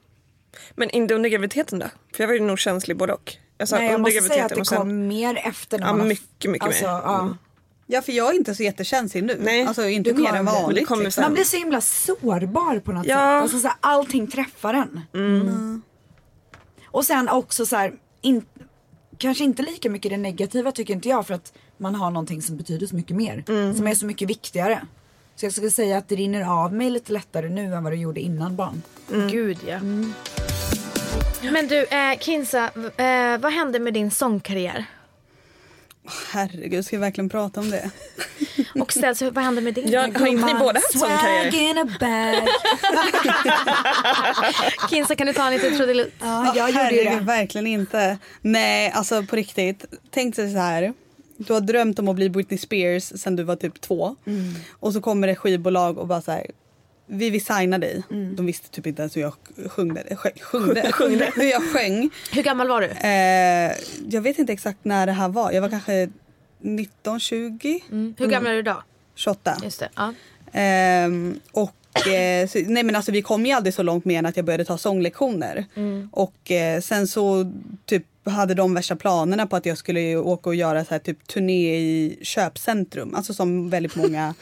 Speaker 4: Men inte under graviditeten då? För jag var ju nog känslig både och. Jag sa
Speaker 2: Nej, jag
Speaker 4: under
Speaker 2: måste säga att
Speaker 4: graviditeten
Speaker 2: det
Speaker 4: och sen...
Speaker 2: kom mer efter. När
Speaker 4: Ja,
Speaker 2: man har-
Speaker 4: mycket, mycket
Speaker 2: alltså,
Speaker 4: mer.
Speaker 2: Ja.
Speaker 3: Ja, för jag är inte så jättekänslig nu.
Speaker 4: Nej.
Speaker 3: Alltså inte
Speaker 2: Du
Speaker 3: mer
Speaker 2: kommer
Speaker 3: än
Speaker 2: det. Men det
Speaker 3: vanligt.
Speaker 4: kommer
Speaker 3: liksom.
Speaker 4: sen.
Speaker 2: Man blir så himla sårbar på något
Speaker 4: Ja. Mm.
Speaker 2: sätt. Alltså, så här, allting träffar en. Mm. Och sen också så här, in, kanske inte lika mycket det negativa tycker inte jag för att man har någonting som betyder så mycket mer.
Speaker 4: Mm.
Speaker 2: Som är så mycket viktigare. Så jag skulle säga att det rinner av mig lite lättare nu än vad det gjorde innan barn.
Speaker 1: Gud ja. Men du eh, Kinsa, v- eh, vad hände med din sångkarriär?
Speaker 3: Herregud, ska vi verkligen prata om det?
Speaker 1: Och ställs, vad hände med din?
Speaker 4: Jag, har inte ni båda haft sån karriär?
Speaker 2: Swag in a bag.
Speaker 1: Kinsa kan du ta en liten trudelutt?
Speaker 2: ja, jag
Speaker 3: Åh,
Speaker 2: gjorde ju
Speaker 3: herregud,
Speaker 2: det.
Speaker 3: verkligen inte. Nej, alltså på riktigt. Tänk dig så här. Du har drömt om att bli Britney Spears sen du var typ två.
Speaker 2: Mm.
Speaker 3: Och så kommer det skivbolag och bara så här. Vi vill signa dig.
Speaker 2: Mm.
Speaker 3: De visste typ inte ens hur jag sjöng. det- sjöng, sjungde, sjungde. Hur jag sjöng.
Speaker 1: Hur gammal var du?
Speaker 3: Eh, jag vet inte exakt när det här var. Jag var kanske 19, 20,
Speaker 1: Mm. Hur gammal är du idag?
Speaker 3: 28.
Speaker 1: Just det. Ja.
Speaker 3: Ehm, och, eh, så, nej men alltså, vi kom ju aldrig så långt mer än att jag började ta sånglektioner.
Speaker 4: Mm.
Speaker 3: Och eh, sen så typ, hade de värsta planerna på att jag skulle ju åka och göra så här, typ, turné i köpcentrum. Alltså som väldigt många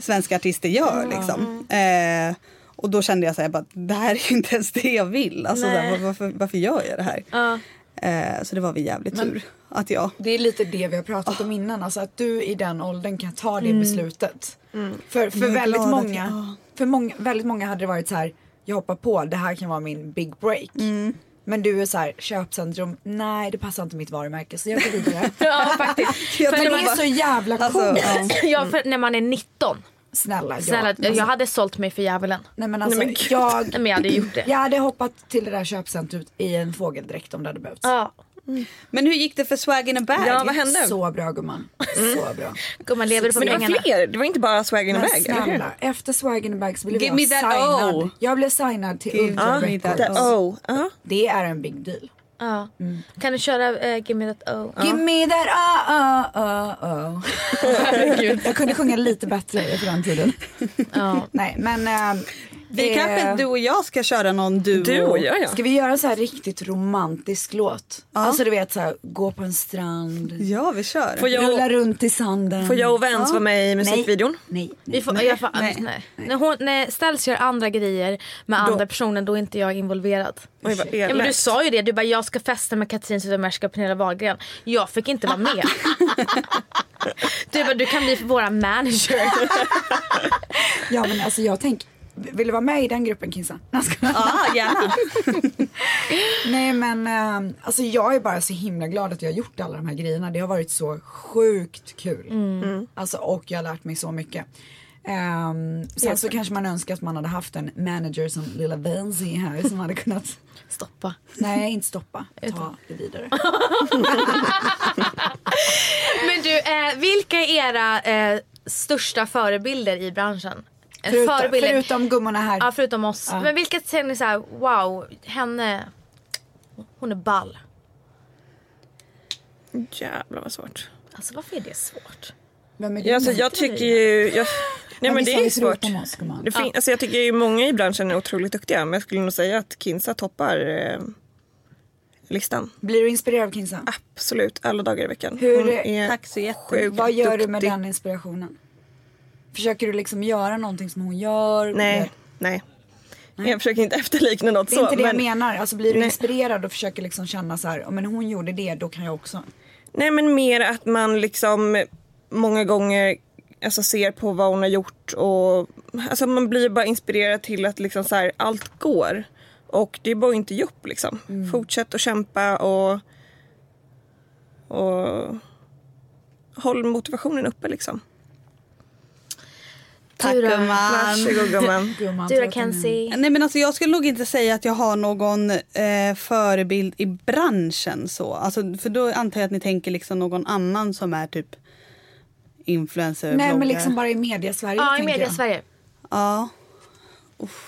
Speaker 3: svenska artister gör. Liksom. Eh, och då kände jag så här, bara, det här är ju inte ens det jag vill. Alltså, så här,
Speaker 1: Nej.
Speaker 3: var- varför, varför gör jag det här?
Speaker 1: Ja.
Speaker 3: Eh, så det var vi jävligt tur att jag
Speaker 2: Det är lite det vi har pratat om innan, alltså att du i den åldern kan ta det beslutet. För, för,
Speaker 3: Jag är
Speaker 2: väldigt
Speaker 3: glad att
Speaker 2: många,
Speaker 3: jag- ja.
Speaker 2: för många, väldigt många hade det varit så här, jag hoppar på, det här kan vara min big break. Men du är så här, köpcentrum, nej det passar inte mitt varumärke så jag går vidare.
Speaker 1: ja faktiskt.
Speaker 3: Jag
Speaker 1: För
Speaker 2: Men
Speaker 1: när
Speaker 2: det
Speaker 1: man,
Speaker 2: är så jävla coolt.
Speaker 3: Alltså, ja.
Speaker 1: ja, för när man är 19.
Speaker 2: Snälla, ja.
Speaker 1: Snälla,
Speaker 2: Alltså,
Speaker 1: jag hade sålt mig för djävulen.
Speaker 2: Nej men alltså
Speaker 4: Nej, men gud.
Speaker 2: jag,
Speaker 1: Men jag hade gjort det.
Speaker 2: jag hade hoppat till det där köpcentrumet i en fågeldräkt om det hade behövts.
Speaker 1: Ja.
Speaker 3: Men hur gick det för Swag in a bag?
Speaker 4: Ja, vad hände?
Speaker 2: Så bra gumman, så bra.
Speaker 1: Gumman lever på
Speaker 4: Men det
Speaker 1: pengarna.
Speaker 4: var fler. Det var inte bara swag in a
Speaker 2: Men
Speaker 4: bag, eller hur?
Speaker 2: snälla, efter Swag in the bag så blev
Speaker 3: Give
Speaker 2: jag
Speaker 3: me that
Speaker 2: signad.
Speaker 3: O.
Speaker 2: Jag blev signad till
Speaker 3: Give
Speaker 2: Ultra
Speaker 3: me that
Speaker 2: Records.
Speaker 4: The O. Ja.
Speaker 2: Det är en big deal.
Speaker 1: Ja. Kan du köra eh, Give me that oh.
Speaker 2: Give me that oh, oh, oh, oh. Herregud. jag kunde sjunga lite bättre för den tiden.
Speaker 1: Ja.
Speaker 2: Nej men eh,
Speaker 3: Vi
Speaker 2: Det-
Speaker 3: kanske du och jag ska köra någon duo.
Speaker 4: Du och jag ja.
Speaker 2: Ska vi göra en så här riktigt romantisk låt? Alltså du vet så här, gå på en strand,
Speaker 3: Ja, vi kör.
Speaker 4: Får jag,
Speaker 2: rulla runt i sanden.
Speaker 4: får jag och Vens vara med i musikvideon?
Speaker 2: Nej. nej.
Speaker 1: Vi får, nej, jag får, nej,
Speaker 3: nej,
Speaker 1: nej. När, hon, när Ställs gör andra grejer med andra personer då är inte jag involverad.
Speaker 4: Oj, vad
Speaker 1: Ja, men du
Speaker 4: elakt.
Speaker 1: sa ju det, du bara jag ska festa med Katrin Zytomierska och Pernilla Wahlgren. Jag fick inte vara med. du bara du kan bli våra manager.
Speaker 2: Ja men alltså jag tänker, vill du vara med i den gruppen Kinsa? Nej, jag skojar.
Speaker 3: Ja, gärna.
Speaker 2: Nej men eh, alltså jag är bara så himla glad att jag har gjort alla de här grejerna. Det har varit så sjukt kul.
Speaker 3: Mm.
Speaker 4: Mm.
Speaker 2: Alltså och jag har lärt mig så mycket. Ehm, sen så kanske man önskar att man hade haft en manager som lilla Benzi här som hade kunnat,
Speaker 1: Stoppa.
Speaker 2: nej inte stoppa, ta det vidare.
Speaker 1: Men du, eh, vilka är era eh, största förebilder i branschen? Eh,
Speaker 2: Förutom,
Speaker 1: förebilder-
Speaker 2: förutom gummorna här.
Speaker 1: Ja, förutom oss. Men vilka känner ni så här, wow, henne, hon är ball.
Speaker 4: Jävlar vad svårt.
Speaker 1: Alltså varför är det svårt?
Speaker 2: Vem är
Speaker 4: Ja, alltså, jag tycker ju... Jag, nej men det är ju
Speaker 2: Vissa har ju
Speaker 4: svårt.
Speaker 2: trott om oss, gumman.
Speaker 4: Det fin, alltså, jag tycker ju många i branschen är otroligt duktiga men jag skulle nog säga att Kinsa toppar eh, listan.
Speaker 2: Blir du inspirerad av
Speaker 4: Ah,
Speaker 2: Kinsa?
Speaker 4: Absolut, alla dagar i veckan.
Speaker 2: Hur-
Speaker 4: Hon är
Speaker 3: Tack så jättemycket.
Speaker 4: sjukt
Speaker 2: Vad gör du med
Speaker 4: duktig.
Speaker 2: den inspirationen? Försöker du liksom göra någonting som hon gör?
Speaker 4: Nej, nej. Jag försöker inte efterlikna något
Speaker 2: Det är
Speaker 4: så.
Speaker 2: inte det
Speaker 4: men,
Speaker 2: jag menar. Alltså blir du
Speaker 4: Nej.
Speaker 2: inspirerad och försöker liksom känna så här, "Ja, men hon gjorde det, då kan jag också.
Speaker 4: Nej men mer att man liksom många gånger alltså, ser på vad hon har gjort och alltså, man blir bara inspirerad till att liksom så här, allt går. Och det är bara att inte ge upp liksom.
Speaker 2: Mm.
Speaker 4: Fortsätt att kämpa och, och håll motivationen uppe liksom.
Speaker 3: Tack
Speaker 1: Du då?
Speaker 2: Ah.
Speaker 3: gumman.
Speaker 4: Varsågod gumman.
Speaker 2: Gumman,
Speaker 1: Du då
Speaker 2: förlåt, men-
Speaker 1: Kenzie?
Speaker 3: Nej men alltså jag skulle nog inte säga att jag har någon eh, förebild i branschen så. Alltså, för då antar jag att ni tänker liksom någon annan som är typ influencer,
Speaker 2: Nej men
Speaker 3: bloggare.
Speaker 2: liksom bara i mediasverige
Speaker 1: Ja, i
Speaker 2: tänker
Speaker 1: media
Speaker 2: jag.
Speaker 1: Sverige.
Speaker 3: Ja. Uff.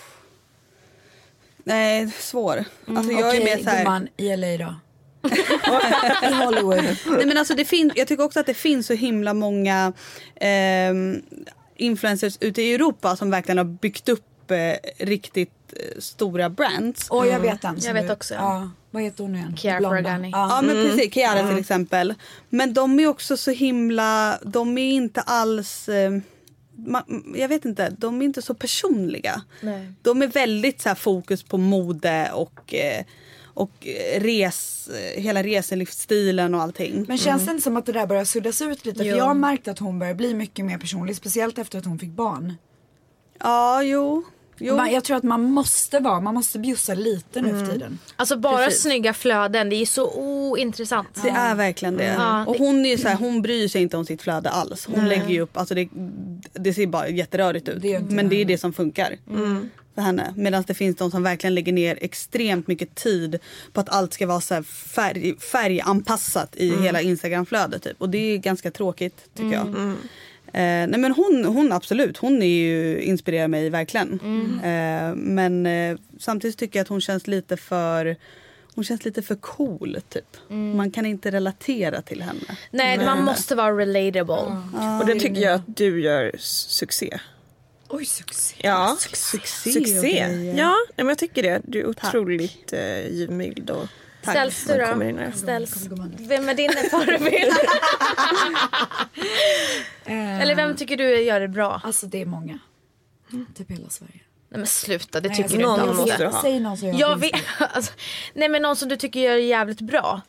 Speaker 3: Nej, svår. Alltså jag
Speaker 2: Mm, Okej
Speaker 3: är mer så här...
Speaker 2: gumman, i LA då. I Hollywood.
Speaker 3: Nej, men alltså det fin- jag tycker också att det finns så himla många ehm, influencers ute i Europa som verkligen har byggt upp eh, riktigt eh, stora brands.
Speaker 2: Åh jag vet den. som
Speaker 1: Jag vet
Speaker 2: du-
Speaker 1: också.
Speaker 2: Ja. Vad heter hon nu igen?
Speaker 1: Chiara
Speaker 2: Blonda.
Speaker 1: Ferragni.
Speaker 2: Ja. Mm.
Speaker 3: Ja men precis, Kiara till exempel. Men de är också så himla, de är inte alls, eh, ma- jag vet inte, de är inte så personliga.
Speaker 1: Nej.
Speaker 3: De är väldigt så här, fokus på mode och, eh, och eh, res, eh, hela reselivsstilen och allting.
Speaker 2: Men känns det inte som att det där börjar suddas ut lite?
Speaker 1: Jo.
Speaker 2: För jag har märkt att hon börjar bli mycket mer personlig. Speciellt efter att hon fick barn.
Speaker 3: Ja, jo. jo.
Speaker 2: Man, jag tror att man måste vara, man måste bjussa lite nu för tiden.
Speaker 1: Alltså bara
Speaker 3: Precis.
Speaker 1: snygga flöden, det är så ointressant.
Speaker 3: Det är verkligen det.
Speaker 1: Ja.
Speaker 3: Och hon, är ju så här, hon bryr sig inte om sitt flöde alls. Hon lägger ju upp, alltså det, det ser bara jätterörigt ut.
Speaker 2: Det gör inte
Speaker 3: men det är det som funkar
Speaker 1: Mm.
Speaker 3: för henne. Medan det finns de som verkligen lägger ner extremt mycket tid på att allt ska vara så här färg, färganpassat i
Speaker 1: Mm.
Speaker 3: hela Instagramflödet. Typ. Och det är ganska tråkigt tycker jag.
Speaker 1: Mm.
Speaker 3: Eh, nej men hon, hon absolut, hon är ju, inspirerar mig verkligen.
Speaker 4: Mm.
Speaker 3: Eh, men eh, samtidigt tycker jag att hon känns lite för hon känns lite för cool typ.
Speaker 4: Mm.
Speaker 3: Man kan inte relatera till henne.
Speaker 1: Nej, man måste vara relatable.
Speaker 2: Ah,
Speaker 4: Och det tycker jag att du gör succé.
Speaker 2: Oj succé.
Speaker 4: Ja.
Speaker 3: Succé!
Speaker 4: Succé!
Speaker 3: och grejer.
Speaker 4: Ja, nej, men jag tycker det. Du är otroligt eh, givmild och
Speaker 1: Ställs du
Speaker 4: Man kommer in
Speaker 1: då? Alltså-
Speaker 4: här.
Speaker 1: Ställs. Vem är din förebild? Eller vem Mm. tycker du gör det bra?
Speaker 2: Eh, Alltså det är många. Typ hela Sverige.
Speaker 1: Nej men sluta, det
Speaker 2: Nej, jag
Speaker 1: tycker du
Speaker 2: ska-
Speaker 1: inte.
Speaker 4: någon
Speaker 1: alls.
Speaker 4: måste du ha.
Speaker 2: Säg någon som
Speaker 1: Jag
Speaker 2: jag
Speaker 1: vet, alltså, nej men någon som du tycker gör det jävligt bra.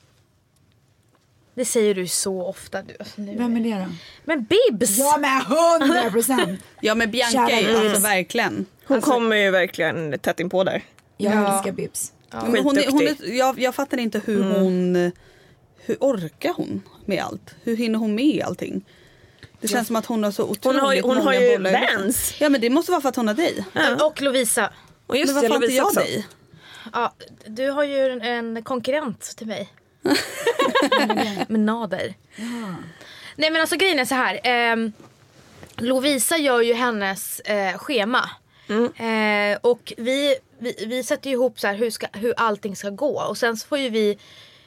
Speaker 1: Det säger du så ofta. Du. Alltså, nu.
Speaker 2: Vem är det då?
Speaker 1: Men Bibs!
Speaker 2: Ja men 100 procent!
Speaker 3: Ja men Bianca är ju alltså verkligen.
Speaker 4: Hon kommer ju verkligen tätt in på där.
Speaker 2: Jag
Speaker 1: Ja.
Speaker 2: älskar Bibs.
Speaker 3: Men hon är, hon
Speaker 4: Skitduktig.
Speaker 3: är, jag, jag fattar inte hur
Speaker 4: Mm.
Speaker 3: hon... Hur orkar hon med allt? Hur hinner hon med allting? Det känns som att hon har så otroligt
Speaker 4: Hon har ju- hon
Speaker 3: många
Speaker 4: har ju
Speaker 3: bollar i luften.
Speaker 4: Vans.
Speaker 3: Ja men det måste vara för att hon har dig.
Speaker 1: Och Lovisa.
Speaker 4: Och just
Speaker 3: men varför
Speaker 4: det,
Speaker 3: har inte
Speaker 4: Lovisa
Speaker 3: jag
Speaker 4: också.
Speaker 3: dig?
Speaker 1: Ja, du har ju en, en konkurrent till mig. Med Nader. Nej men alltså grejen är så här. ehm, Lovisa gör ju hennes eh, schema. Eh, och vi, vi, vi sätter ju ihop så här hur, ska, hur allting ska gå. Och sen så får ju vi,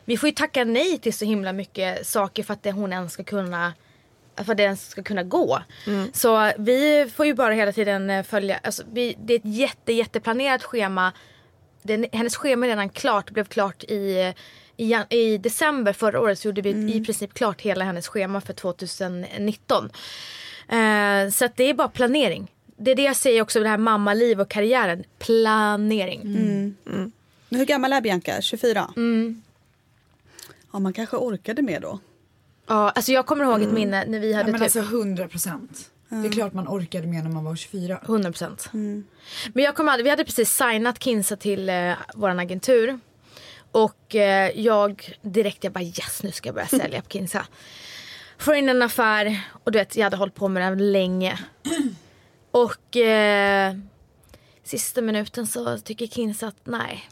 Speaker 1: vi får ju tacka nej till så himla mycket saker för att det, hon ens ska kunna för att det ens ska kunna gå. Så vi får ju bara hela tiden eh, följa, alltså, vi, det är ett jätte, jätteplanerat schema. Den, hennes schema är redan klart, blev klart i, i, jan- i december förra året så gjorde vi i princip klart hela hennes schema för 2019. Eh, så att det är bara planering. Det är det jag säger också, det här mammaliv och karriären. Planering.
Speaker 3: Men hur gammal är Bianca? 24? Ja, man kanske orkade mer då.
Speaker 1: Ja, alltså jag kommer ihåg ett minne när vi
Speaker 2: Ja,
Speaker 1: hade
Speaker 2: men
Speaker 1: typ
Speaker 2: alltså 100 procent. Det är klart man orkade med när man var 24.
Speaker 1: 100 procent.
Speaker 2: Mm.
Speaker 1: Men jag kommer aldrig, vi hade precis signat Kinsa till eh, vår agentur. Och eh, jag direkt, jag bara yes nu ska jag börja sälja på Kinsa. Får in en affär och du vet jag hade hållit på med den länge. Och eh, sista minuten så tycker Kinsa att nej.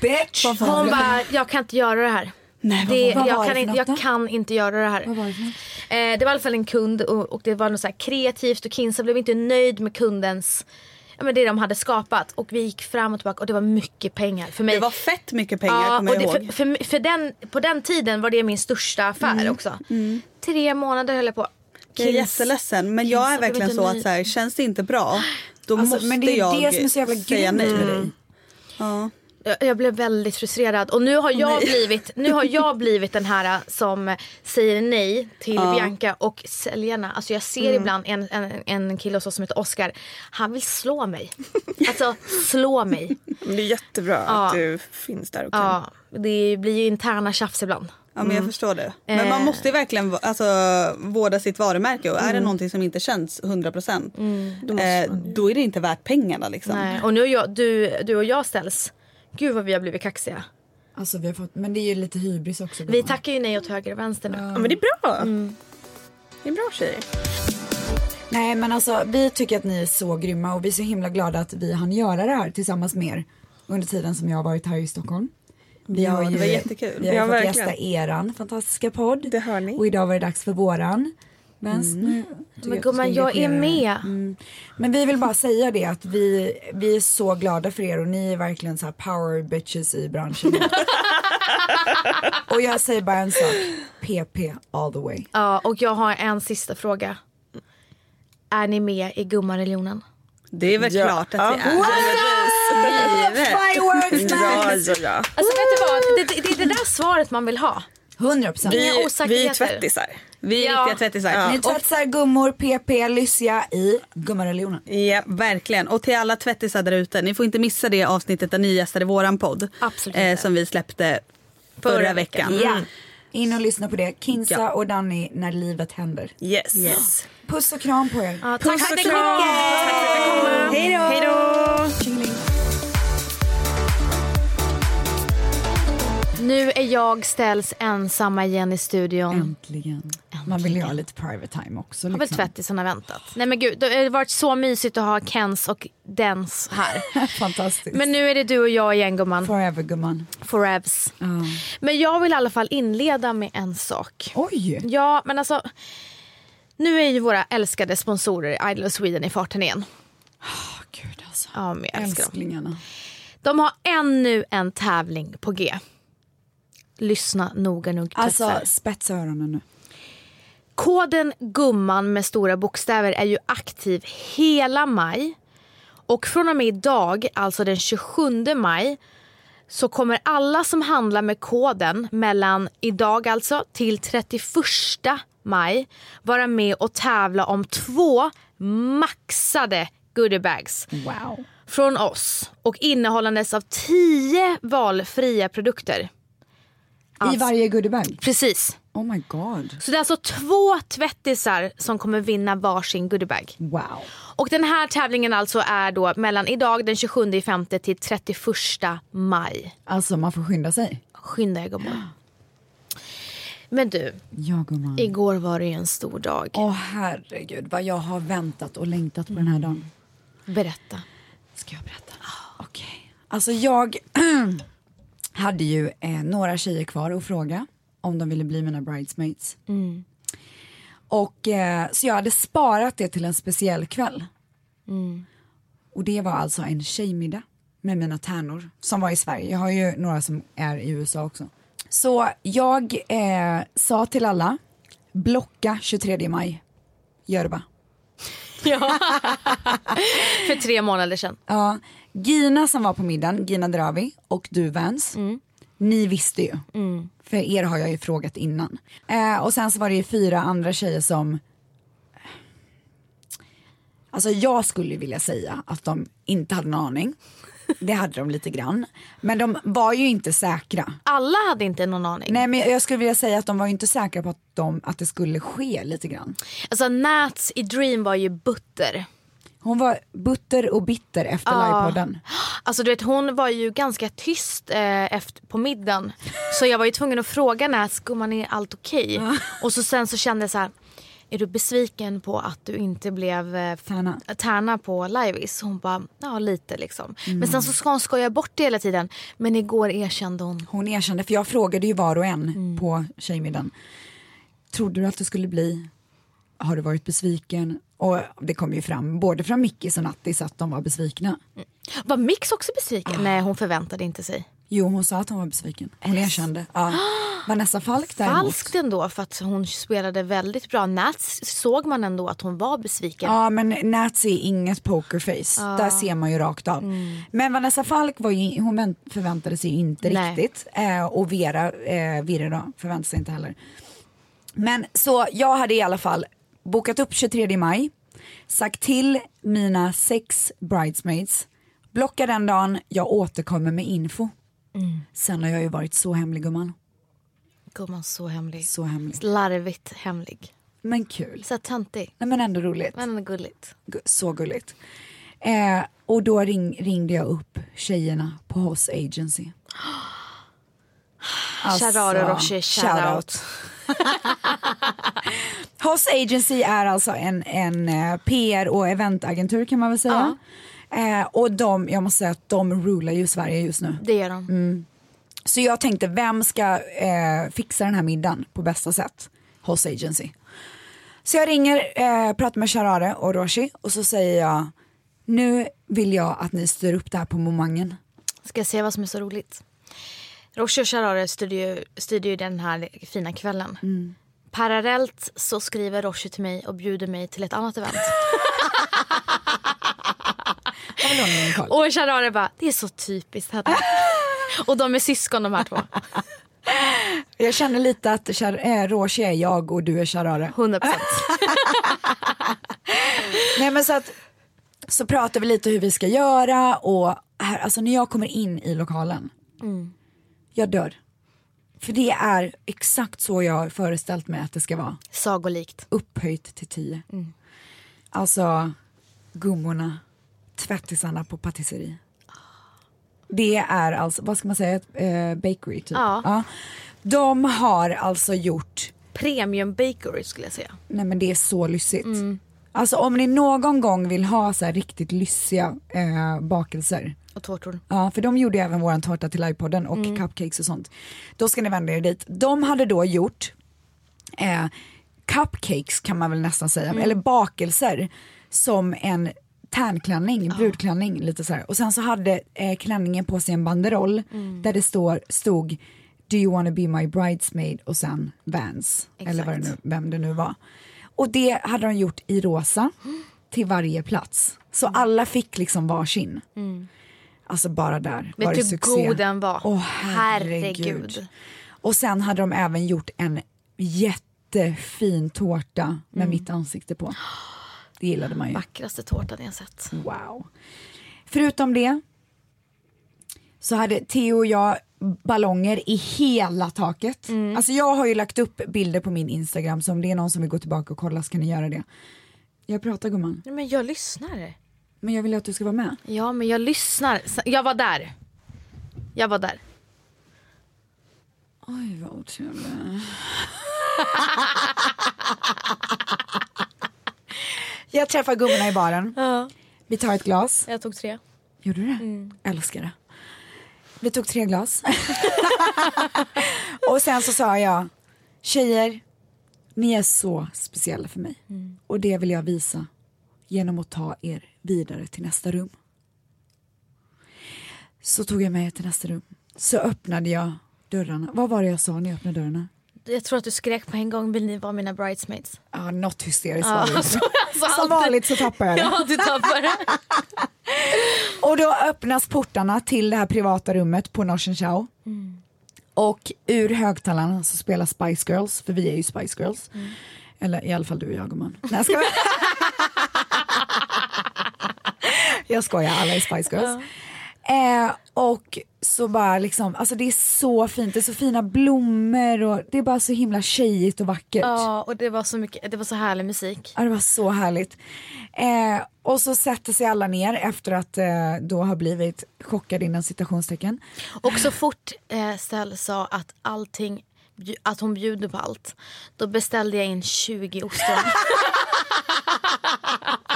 Speaker 2: Bitch!
Speaker 3: Vad var
Speaker 1: Hon
Speaker 3: det?
Speaker 1: bara, jag kan inte göra det här.
Speaker 3: Nej, vad,
Speaker 1: Det,
Speaker 2: vad var
Speaker 1: jag,
Speaker 2: det
Speaker 1: kan
Speaker 2: för
Speaker 1: inte,
Speaker 2: något då?
Speaker 1: jag kan inte göra det här.
Speaker 2: Vad var det för något?
Speaker 1: Eh, det var i alla fall en kund och, och det var något så här kreativt och Kinsa blev inte nöjd med kundens Ja, men det de hade skapat och vi gick fram och tillbaka och det var mycket pengar för mig.
Speaker 3: det var fett mycket pengar
Speaker 1: ja,
Speaker 3: kommer
Speaker 1: och
Speaker 3: jag
Speaker 1: det,
Speaker 3: ihåg.
Speaker 1: för, för, för den, På den tiden var det min största affär också. Tre månader höll jag på.
Speaker 3: Jag Mm. är
Speaker 1: Kins-
Speaker 3: jätteledsen men jag
Speaker 1: Kins-
Speaker 3: är verkligen
Speaker 1: inte
Speaker 3: så
Speaker 1: ny.
Speaker 3: att så här, känns det inte bra då
Speaker 2: Alltså,
Speaker 3: måste
Speaker 2: men det är ju det
Speaker 3: jag
Speaker 2: som är så jävla
Speaker 3: säga
Speaker 2: grymt
Speaker 3: nej.
Speaker 2: med dig.
Speaker 3: Ja.
Speaker 1: Jag, jag blev väldigt frustrerad och nu har, jag blivit, nu har jag blivit den här äh, som säger nej till Bianca och säljarna. Alltså jag ser ibland en, en, en kille hos oss som heter Oscar. Han vill slå mig. Alltså slå mig.
Speaker 4: Men det är jättebra att du finns där och kan.
Speaker 1: Ja, det blir ju interna tjafs ibland.
Speaker 3: Ja, men
Speaker 2: Mm.
Speaker 3: jag förstår det. Men
Speaker 1: Eh.
Speaker 3: man måste ju verkligen va- alltså, vårda sitt varumärke och
Speaker 2: Mm.
Speaker 3: är det någonting som inte känns 100% eh, då är det inte värt pengarna liksom.
Speaker 1: Nej. Och nu är jag, du, du och jag ställs. Gud vad vi har blivit kaxiga.
Speaker 2: Alltså vi har fått, men det är ju lite hybris också.
Speaker 1: Vi
Speaker 2: gumman.
Speaker 1: tackar ju nej åt höger och vänster nu.
Speaker 4: Ja, men det är bra.
Speaker 1: Mm.
Speaker 4: Det är bra tjejer.
Speaker 2: Nej men alltså vi tycker att ni är så grymma och vi är så himla glada att vi hann göra det här tillsammans med er under tiden som jag har varit här i Stockholm. Vi har
Speaker 3: det
Speaker 2: ju,
Speaker 3: var jättekul.
Speaker 2: Vi har ju
Speaker 4: Ja,
Speaker 2: fått
Speaker 4: verkligen.
Speaker 2: gästa eran fantastiska podd.
Speaker 4: Det hör ni. Mm.
Speaker 2: Och idag var det dags för våran. Men nu tycker
Speaker 1: Men
Speaker 2: att du ska
Speaker 1: gumman jag är
Speaker 2: engagera dig.
Speaker 1: med.
Speaker 2: Mm. Men vi vill bara säga det att vi, vi är så glada för er och ni är verkligen så här power bitches i branschen. och jag säger bara en sak. PP all the way.
Speaker 1: Ja, och jag har en sista fråga. Är ni med i gummareligionen?
Speaker 3: Det är väl klart att det är. Givet.
Speaker 2: Fireworks
Speaker 4: Ja,
Speaker 2: man!
Speaker 4: ja, ja.
Speaker 1: Alltså vet du vad? Det, det, det är det där svaret man vill ha.
Speaker 2: 100 procent.
Speaker 1: Inga
Speaker 4: Vi, vi är
Speaker 1: osäkerheter.
Speaker 4: tvättisar.
Speaker 3: Vi är
Speaker 1: Ja.
Speaker 3: riktiga tvättisar.
Speaker 2: Ni tvättar gummor, PP, Lyssja i gummareligionen.
Speaker 3: Ja, verkligen. Och till alla tvättisar där ute, ni får inte missa det avsnittet där ni gästade våran podd.
Speaker 1: Absolut
Speaker 3: eh,
Speaker 1: inte.
Speaker 3: som vi släppte förra,
Speaker 1: Förra
Speaker 3: veckan.
Speaker 1: veckan.
Speaker 2: Ja. In och lyssna på det. Kinsa
Speaker 3: Mm. Ja.
Speaker 2: och Danny när livet händer.
Speaker 4: Yes.
Speaker 3: Yes.
Speaker 2: Puss och kram på er.
Speaker 1: Ja, tack
Speaker 4: Puss
Speaker 1: så
Speaker 4: och
Speaker 1: mycket.
Speaker 4: kram.
Speaker 2: Hej då!
Speaker 4: Hej då!
Speaker 1: Nu är jag ställs ensamma igen i studion.
Speaker 4: Mm.
Speaker 2: Äntligen. Man vill ju ha lite private time också.
Speaker 1: Har väl
Speaker 2: Liksom.
Speaker 1: tvättisarna väntat? Nej men gud, det har varit så mysigt att ha Kens och Dens här.
Speaker 2: Fantastiskt.
Speaker 1: Men nu är det du och jag igen gumman.
Speaker 2: Forever gumman.
Speaker 1: Forevs.
Speaker 2: Ja.
Speaker 1: Men jag vill i alla fall inleda med en sak.
Speaker 2: Oj!
Speaker 1: Ja men alltså. Nu är ju våra älskade sponsorer Idol of Sweden i farten igen.
Speaker 2: Åh, Gud alltså.
Speaker 1: Ja men jag älskar dem.
Speaker 2: Älsklingarna.
Speaker 1: De har ännu en tävling på G. Lyssna noga nu
Speaker 2: Alltså
Speaker 1: tvättisar.
Speaker 2: spetsa öronen nu.
Speaker 1: Koden gumman med stora bokstäver är ju aktiv hela maj. Och från och med idag, alltså den 27 maj, så kommer alla som handlar med koden mellan idag alltså till 31 maj vara med och tävla om två maxade goodiebags
Speaker 2: Wow.
Speaker 1: från oss och innehållandes av 10 valfria produkter.
Speaker 2: I
Speaker 1: Alltså-
Speaker 2: varje goodiebag.
Speaker 1: Precis.
Speaker 2: Oh my god.
Speaker 1: Så det är alltså två tvättisar som kommer vinna varsin goodiebag.
Speaker 2: Wow.
Speaker 1: Och den här tävlingen alltså är då mellan idag den 27 femte till 31 maj.
Speaker 2: Alltså man får skynda sig.
Speaker 1: Skynda er gummor. Men du,
Speaker 2: Ja gumman.
Speaker 1: igår var det ju en stor dag.
Speaker 2: Åh herregud vad jag har väntat och längtat på den här dagen.
Speaker 1: Berätta.
Speaker 2: Ska jag berätta? Okej. Alltså jag hade ju eh, några tjejer kvar att fråga om de ville bli mina bridesmaids. Och eh, så jag hade sparat det till en speciell kväll. Och det var alltså en tjejmiddag med mina tärnor som var i Sverige. Jag har ju några som är i USA också. Så jag eh, sa till alla, Blocka 23 maj. Görba.
Speaker 1: Ja. För tre månader sedan.
Speaker 2: Ja, Gina som var på middagen, Gina Dravi och du Vans. Ni visste ju. För er har jag ju frågat innan. Eh, och sen så var det ju fyra andra tjejer som Alltså jag skulle vilja säga att de inte hade en aning. Det hade de lite grann. Men de var ju inte säkra.
Speaker 1: Alla hade inte någon aning.
Speaker 2: Nej men jag skulle vilja säga att de var ju inte säkra på att, de, att det skulle ske lite grann.
Speaker 1: Alltså Nats i Dream var ju butter.
Speaker 2: Hon var butter och bitter efter
Speaker 1: Ah.
Speaker 2: livepodden.
Speaker 1: Alltså du vet hon var ju ganska tyst eh, efter, på middagen. Så jag var ju tvungen att fråga Nats, gumman är allt okej?
Speaker 2: Ah.
Speaker 1: Och så sen så kände jag så här, är du besviken på att du inte blev eh,
Speaker 2: Tärna.
Speaker 1: tärna på Liveis? Hon bara, ja lite liksom.
Speaker 2: Mm.
Speaker 1: Men sen så ska hon skoja bort det hela tiden. Men igår erkände hon.
Speaker 2: Hon erkände, för jag frågade ju var och en på tjejmiddagen. Trodde du att du skulle bli? Har du varit besviken? Och det kom ju fram, både från Mickis och Nattis, att de var besvikna.
Speaker 1: Var Mix också besviken?
Speaker 2: Ah.
Speaker 1: Nej hon förväntade inte sig.
Speaker 2: Jo, hon sa att hon var besviken. Hon erkände. Ja. Vanessa Falk däremot.
Speaker 1: Falskt ändå för att hon spelade väldigt bra. Nats såg man ändå att hon var besviken.
Speaker 2: Ja, men Nazi är inget pokerface. Där ser man ju rakt av. Men Vanessa Falk var ju, hon vänt- förväntade sig ju inte
Speaker 1: Nej.
Speaker 2: riktigt. Eh, och Vera eh, Virre då, förväntade sig inte heller. Men så jag hade i alla fall bokat upp 23 maj, sagt till mina sex bridesmaids, blocka den dagen, jag återkommer med info. Sen har jag ju varit så hemlig gumman,
Speaker 1: Gumman så hemlig.
Speaker 2: så hemlig.
Speaker 1: Larvigt hemlig.
Speaker 2: Men kul.
Speaker 1: Så töntig.
Speaker 2: Nej men ändå roligt.
Speaker 1: Men ändå gulligt.
Speaker 2: Gu- så gulligt. Eh, och då ring, ringde jag upp tjejerna på Hoss Agency. Alltså,
Speaker 1: Shoutout och Roshi, shoutout.
Speaker 2: Hoss Agency är alltså en, en eh, PR och eventagentur kan man väl säga. Eh, och de, jag måste säga att de rular ju Sverige just nu.
Speaker 1: Det gör de.
Speaker 2: Så jag tänkte, vem ska eh, fixa den här middagen på bästa sätt? Hoss Agency. Så jag ringer, eh, pratar med Sharare och Roshi och så säger jag, nu vill jag att ni styr upp det här på momangen.
Speaker 1: Ska jag se vad som är så roligt. Roshi och Charare styrde ju, styrde ju den här fina kvällen. Parallellt så skriver Roshi till mig och bjuder mig till ett annat event.
Speaker 2: Jag vill ha någon koll.
Speaker 1: och Charare bara, det är så typiskt Hedda. och de är syskon de här två.
Speaker 2: Jag känner lite att Char- eh, Roshi är jag och du är Sharare.
Speaker 1: 100
Speaker 2: Nej men så att, så pratar vi lite hur vi ska göra och här, alltså när jag kommer in i lokalen, jag dör. För det är exakt så jag har föreställt mig att det ska vara.
Speaker 1: Sagolikt.
Speaker 2: upphöjt till 10. Alltså gummorna, tvättisarna på patisserie. Det är alltså, vad ska man säga, ett eh, bakery typ.
Speaker 1: Ja.
Speaker 2: De har alltså gjort,
Speaker 1: Premium bakery skulle jag säga.
Speaker 2: nej men det är så lyssigt. Alltså om ni någon gång vill ha så här riktigt lyssiga eh, bakelser.
Speaker 1: Och tårtor.
Speaker 2: Ja, för de gjorde ju även våran tårta till iPodden och cupcakes och sånt. Då ska ni vända er dit. De hade då gjort eh, cupcakes kan man väl nästan säga, eller bakelser som en tärnklänning, brudklänning lite så här. Och sen så hade eh, klänningen på sig en banderoll där det står, stod Do you wanna be my bridesmaid och sen Vans, eller vad det nu, vem det nu var. Och det hade de gjort i rosa till varje plats. Så alla fick liksom varsin. Alltså bara där
Speaker 1: Vet
Speaker 2: var
Speaker 1: du
Speaker 2: det succé.
Speaker 1: typ god den var?
Speaker 2: Åh herregud.
Speaker 1: Herregud.
Speaker 2: Och sen hade de även gjort en jättefin tårta
Speaker 1: Mm.
Speaker 2: med mitt ansikte på. Det gillade man ju.
Speaker 1: Vackraste tårtan jag sett.
Speaker 2: Mm. Wow. Förutom det så hade Theo och jag ballonger i hela taket.
Speaker 1: Mm.
Speaker 2: Alltså jag har ju lagt upp bilder på min Instagram så om det är någon som vill gå tillbaka och kolla så kan ni göra det. Jag pratar gumman,
Speaker 1: Nej, Men jag lyssnar.
Speaker 2: men jag vill att du ska vara med.
Speaker 1: Ja, men jag lyssnar. S- Jag var där. Jag var där.
Speaker 2: Oj vad otrevlig. jag träffar gummorna i baren.
Speaker 1: Ja.
Speaker 2: Vi tar ett glas.
Speaker 1: Jag tog tre.
Speaker 2: Gjorde du det? Älskar det. Mm. Vi tog tre glas. och sen så sa jag, tjejer, ni är så speciella för mig. Och det vill jag visa genom att ta er vidare till nästa rum. Så tog jag med er till nästa rum. Så öppnade jag dörrarna. Vad var det jag sa när jag öppnade dörrarna?
Speaker 1: jag tror att du skrek på en gång vill ni vara mina bridesmaids?
Speaker 2: Ja, något hysteriskt
Speaker 1: Ja,
Speaker 2: var det.
Speaker 1: alltså, alltså,
Speaker 2: Som
Speaker 1: alltid-
Speaker 2: vanligt så tappar jag det.
Speaker 1: Ja, du tappar det.
Speaker 2: Och då öppnas portarna till det här privata rummet på Norsen Chow. Och ur högtalarna så spelar Spice Girls, för vi är ju Spice Girls. Eller i alla fall du och jag gumman. Nej, jag skojar. jag skojar, alla är Spice Girls. Eh, och så bara liksom, alltså det är så fint, det är så fina blommor och det är bara så himla tjejigt och vackert.
Speaker 1: Ja, och det var så mycket, det var så härlig musik.
Speaker 2: Ja, det var så härligt. Eh, och så sätter sig alla ner efter att eh, då ha blivit chockad innan citationstecken.
Speaker 1: Och så fort eh, Stell sa att allting bju- att hon bjuder på allt. Då beställde jag in 20 ostron.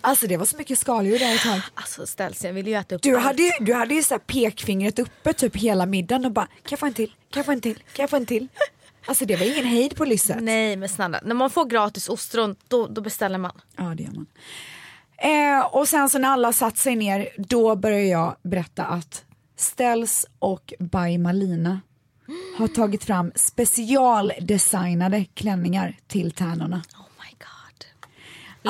Speaker 2: Alltså det var så mycket skaldjur där ett tag.
Speaker 1: Alltså ställs, jag ville ju äta upp
Speaker 2: Du
Speaker 1: allt.
Speaker 2: hade ju, du hade ju så här pekfingret uppe typ hela middagen och bara kan jag få en till, kan jag få en till, kan jag få en till. Alltså det var ingen hejd på lyset.
Speaker 1: Nej men snälla, när man får gratis ostron då, då beställer man.
Speaker 2: Ja det gör man. Eh, och sen så när alla satt sig ner då började jag berätta att Ställs och By Malina har tagit fram specialdesignade klänningar till tärnorna.
Speaker 1: Oh my god.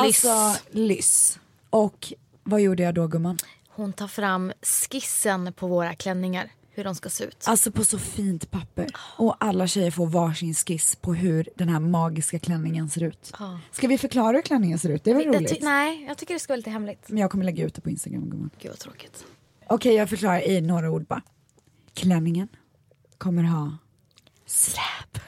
Speaker 1: Lyss.
Speaker 2: Alltså lyss. Och vad gjorde jag då gumman?
Speaker 1: Hon tar fram skissen på våra klänningar. Hur de ska se ut.
Speaker 2: Alltså på så fint papper. Och alla tjejer får varsin skiss på hur den här magiska klänningen ser ut.
Speaker 1: Ja.
Speaker 2: Ska vi förklara hur klänningen ser ut? Det är väl
Speaker 1: Jag ty-
Speaker 2: roligt?
Speaker 1: nej, jag tycker det ska vara lite hemligt.
Speaker 2: Men jag kommer lägga ut det på Instagram gumman.
Speaker 1: Gud vad tråkigt.
Speaker 2: Okej, jag förklarar i några ord bara. Klänningen kommer ha släp.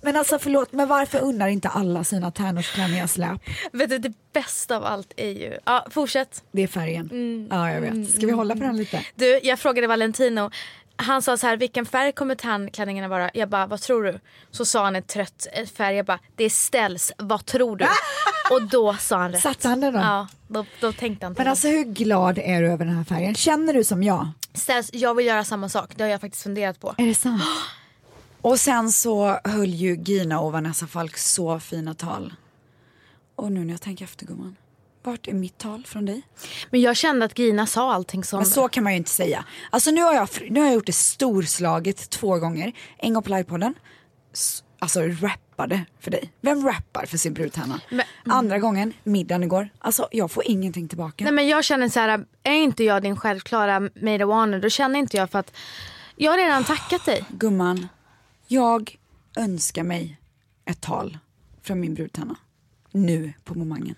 Speaker 2: men alltså förlåt, men varför unnar inte alla sina tärnors klänningar släp?
Speaker 1: Vet du, det bästa av allt är ju... Ja, fortsätt.
Speaker 2: Det är färgen. Ja, jag vet. Ska vi hålla på den lite?
Speaker 1: Du, jag frågade Valentino. Han sa så här, vilken färg kommer tandklänningarna vara? Jag bara, vad tror du? Så sa han en trött eh, färg. Jag bara, det är ställs. Vad tror du? Och då sa han rätt.
Speaker 2: Satte han den då?
Speaker 1: Ja, då, då tänkte han till.
Speaker 2: Men alltså hur glad är du över den här färgen? Känner du som jag?
Speaker 1: Ställs, jag vill göra samma sak. Det har jag faktiskt funderat på.
Speaker 2: Är det sant? Och sen så höll ju Gina och Vanessa Falk så fina tal. Och nu när jag tänker efter gumman, vart är mitt tal från dig?
Speaker 1: Men jag kände att Gina sa allting som...
Speaker 2: Men så kan man ju inte säga. Alltså nu har jag, nu har jag gjort det storslaget två gånger. En gång på livepodden. S- Alltså rappade för dig. Vem rappar för sin brudtärna?
Speaker 1: Men- mm.
Speaker 2: Andra gången, middagen igår. Alltså jag får ingenting tillbaka.
Speaker 1: Nej men jag känner så här, är inte jag din självklara made a wanner, då känner inte jag för att jag har redan tackat dig.
Speaker 2: Gumman, jag önskar mig ett tal från min brudtärna. Nu på momangen.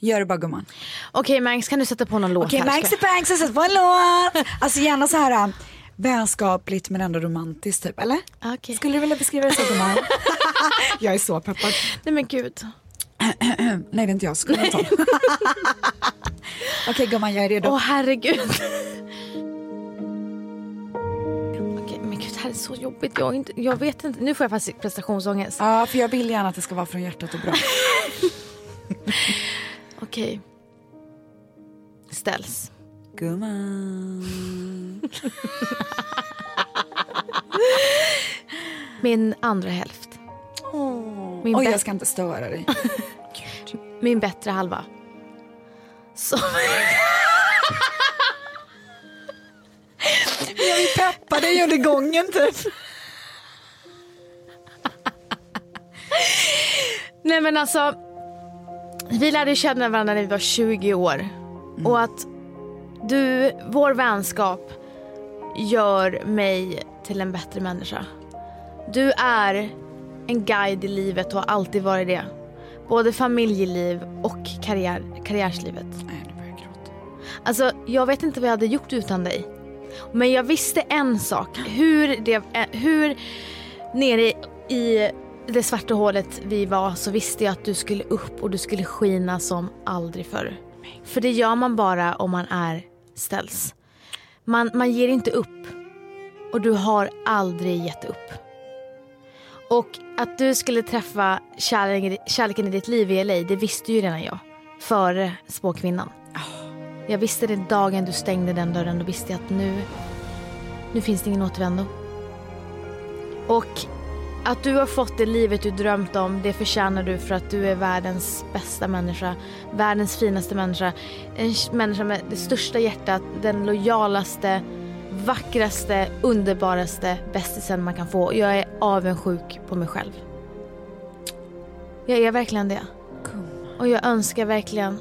Speaker 2: Gör det bara gumman.
Speaker 1: Okej Mangs kan du sätta på någon låt
Speaker 2: Okej,
Speaker 1: här?
Speaker 2: Max
Speaker 1: Ska-
Speaker 2: och Banks har satt på en låt. Alltså gärna så här äh, vänskapligt men ändå romantiskt typ, eller?
Speaker 1: Ah, Okej.
Speaker 2: Skulle du vilja beskriva det så gumman? jag är så peppad.
Speaker 1: Nej men gud.
Speaker 2: Nej, det är inte jag. Skulle jag ta. Okej gumman, jag är redo.
Speaker 1: Åh herregud. Okej men gud det här är så jobbigt. Jag, har inte, jag vet inte, nu får jag faktiskt prestationsångest.
Speaker 2: Ja, för jag vill gärna att det ska vara från hjärtat och bra.
Speaker 1: Okej. Ställs.
Speaker 2: Gumman.
Speaker 1: Min andra hälft. Min,
Speaker 2: Oj,
Speaker 1: bä-
Speaker 2: jag ska inte störa dig.
Speaker 1: min bättre halva. Så...
Speaker 2: Jag vill peppa dig under gången typ.
Speaker 1: Nej men alltså. Vi lärde ju känna varandra när vi var 20 år. Och att du, vår vänskap gör mig till en bättre människa. Du är en guide i livet och har alltid varit det. Både familjeliv och karriär, karriärslivet.
Speaker 2: Nej, nu börjar jag gråta.
Speaker 1: Alltså, jag vet inte vad jag hade gjort utan dig. Men jag visste en sak. Hur, det, eh, hur nere i- i det svarta hålet vi var så visste jag att du skulle upp och du skulle skina som aldrig förr. För det gör man bara om man är ställs. Man, man ger inte upp. Och du har aldrig gett upp. Och att du skulle träffa kärleken, kärleken i ditt liv i LA, det visste ju redan jag. Före spåkvinnan. Jag visste det dagen du stängde den dörren, då visste jag att nu, nu finns det ingen återvändo. Och Att du har fått det livet du drömt om, det förtjänar du för att du är världens bästa människa. Världens finaste människa. En k- människa med det största hjärtat, den lojalaste, vackraste, underbaraste bästisen man kan få. Jag är avundsjuk på mig själv. Jag är verkligen det. Och jag önskar verkligen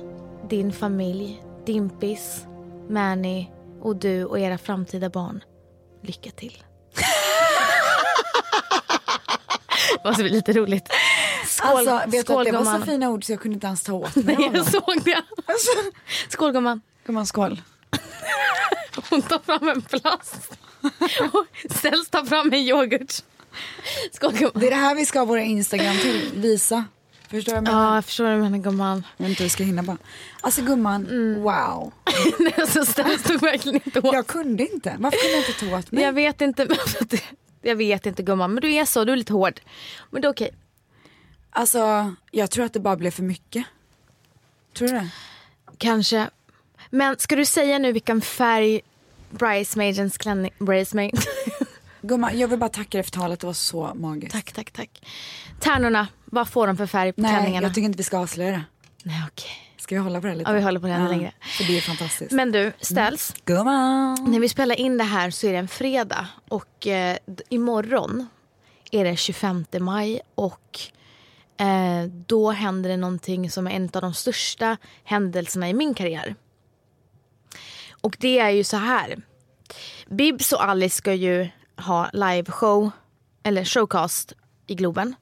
Speaker 1: din familj, Dimpis, Mani och du och era framtida barn lycka till. Det måste bli lite roligt. Skål,
Speaker 2: Alltså vet du
Speaker 1: skål
Speaker 2: att det var
Speaker 1: gumman.
Speaker 2: så fina ord så jag kunde inte ens ta åt mig
Speaker 1: Nej,
Speaker 2: av dem.
Speaker 1: jag såg det.
Speaker 2: Alltså.
Speaker 1: Skål gumman.
Speaker 2: Gumman skål.
Speaker 1: Hon tar fram en plast. Och Ställs tar fram en yoghurt. Skål gumman.
Speaker 2: Det är det här vi ska ha våra Instagram till, visa. Förstår du? vad jag menar?
Speaker 1: Ja, jag förstår vad du menar gumman.
Speaker 2: Jag vet inte hur jag ska hinna bara. Alltså gumman, wow.
Speaker 1: Nej, alltså Ställs tog verkligen inte åt
Speaker 2: Jag kunde inte. Varför kunde jag inte ta åt mig?
Speaker 1: Jag vet inte. men för att det- Jag vet inte gumman, men du är så, du är lite hård. Men det är okej.
Speaker 2: Alltså jag tror att det bara blev för mycket. Tror du det?
Speaker 1: Kanske. Men ska du säga nu vilken färg bridesmaidens klänning... Bridesmaid.
Speaker 2: Gumman, jag vill bara tacka dig för talet, det var så magiskt.
Speaker 1: tack, tack, tack. Tärnorna, vad får de för färg på
Speaker 2: Nej,
Speaker 1: klänningarna?
Speaker 2: jag tycker inte vi ska avslöja det.
Speaker 1: Nej, okej.
Speaker 2: Ska vi hålla på det lite?
Speaker 1: Ja, vi håller på det ännu längre.
Speaker 2: För det är fantastiskt.
Speaker 1: Men du, ställs.
Speaker 2: Gumman!
Speaker 1: När vi spelar in det här så är det en fredag och eh, d- imorgon är det 25 maj och eh, då händer det någonting som är en av de största händelserna i min karriär. Och det är ju så här. Bibs och Alice ska ju ha liveshow eller showcast i Globen.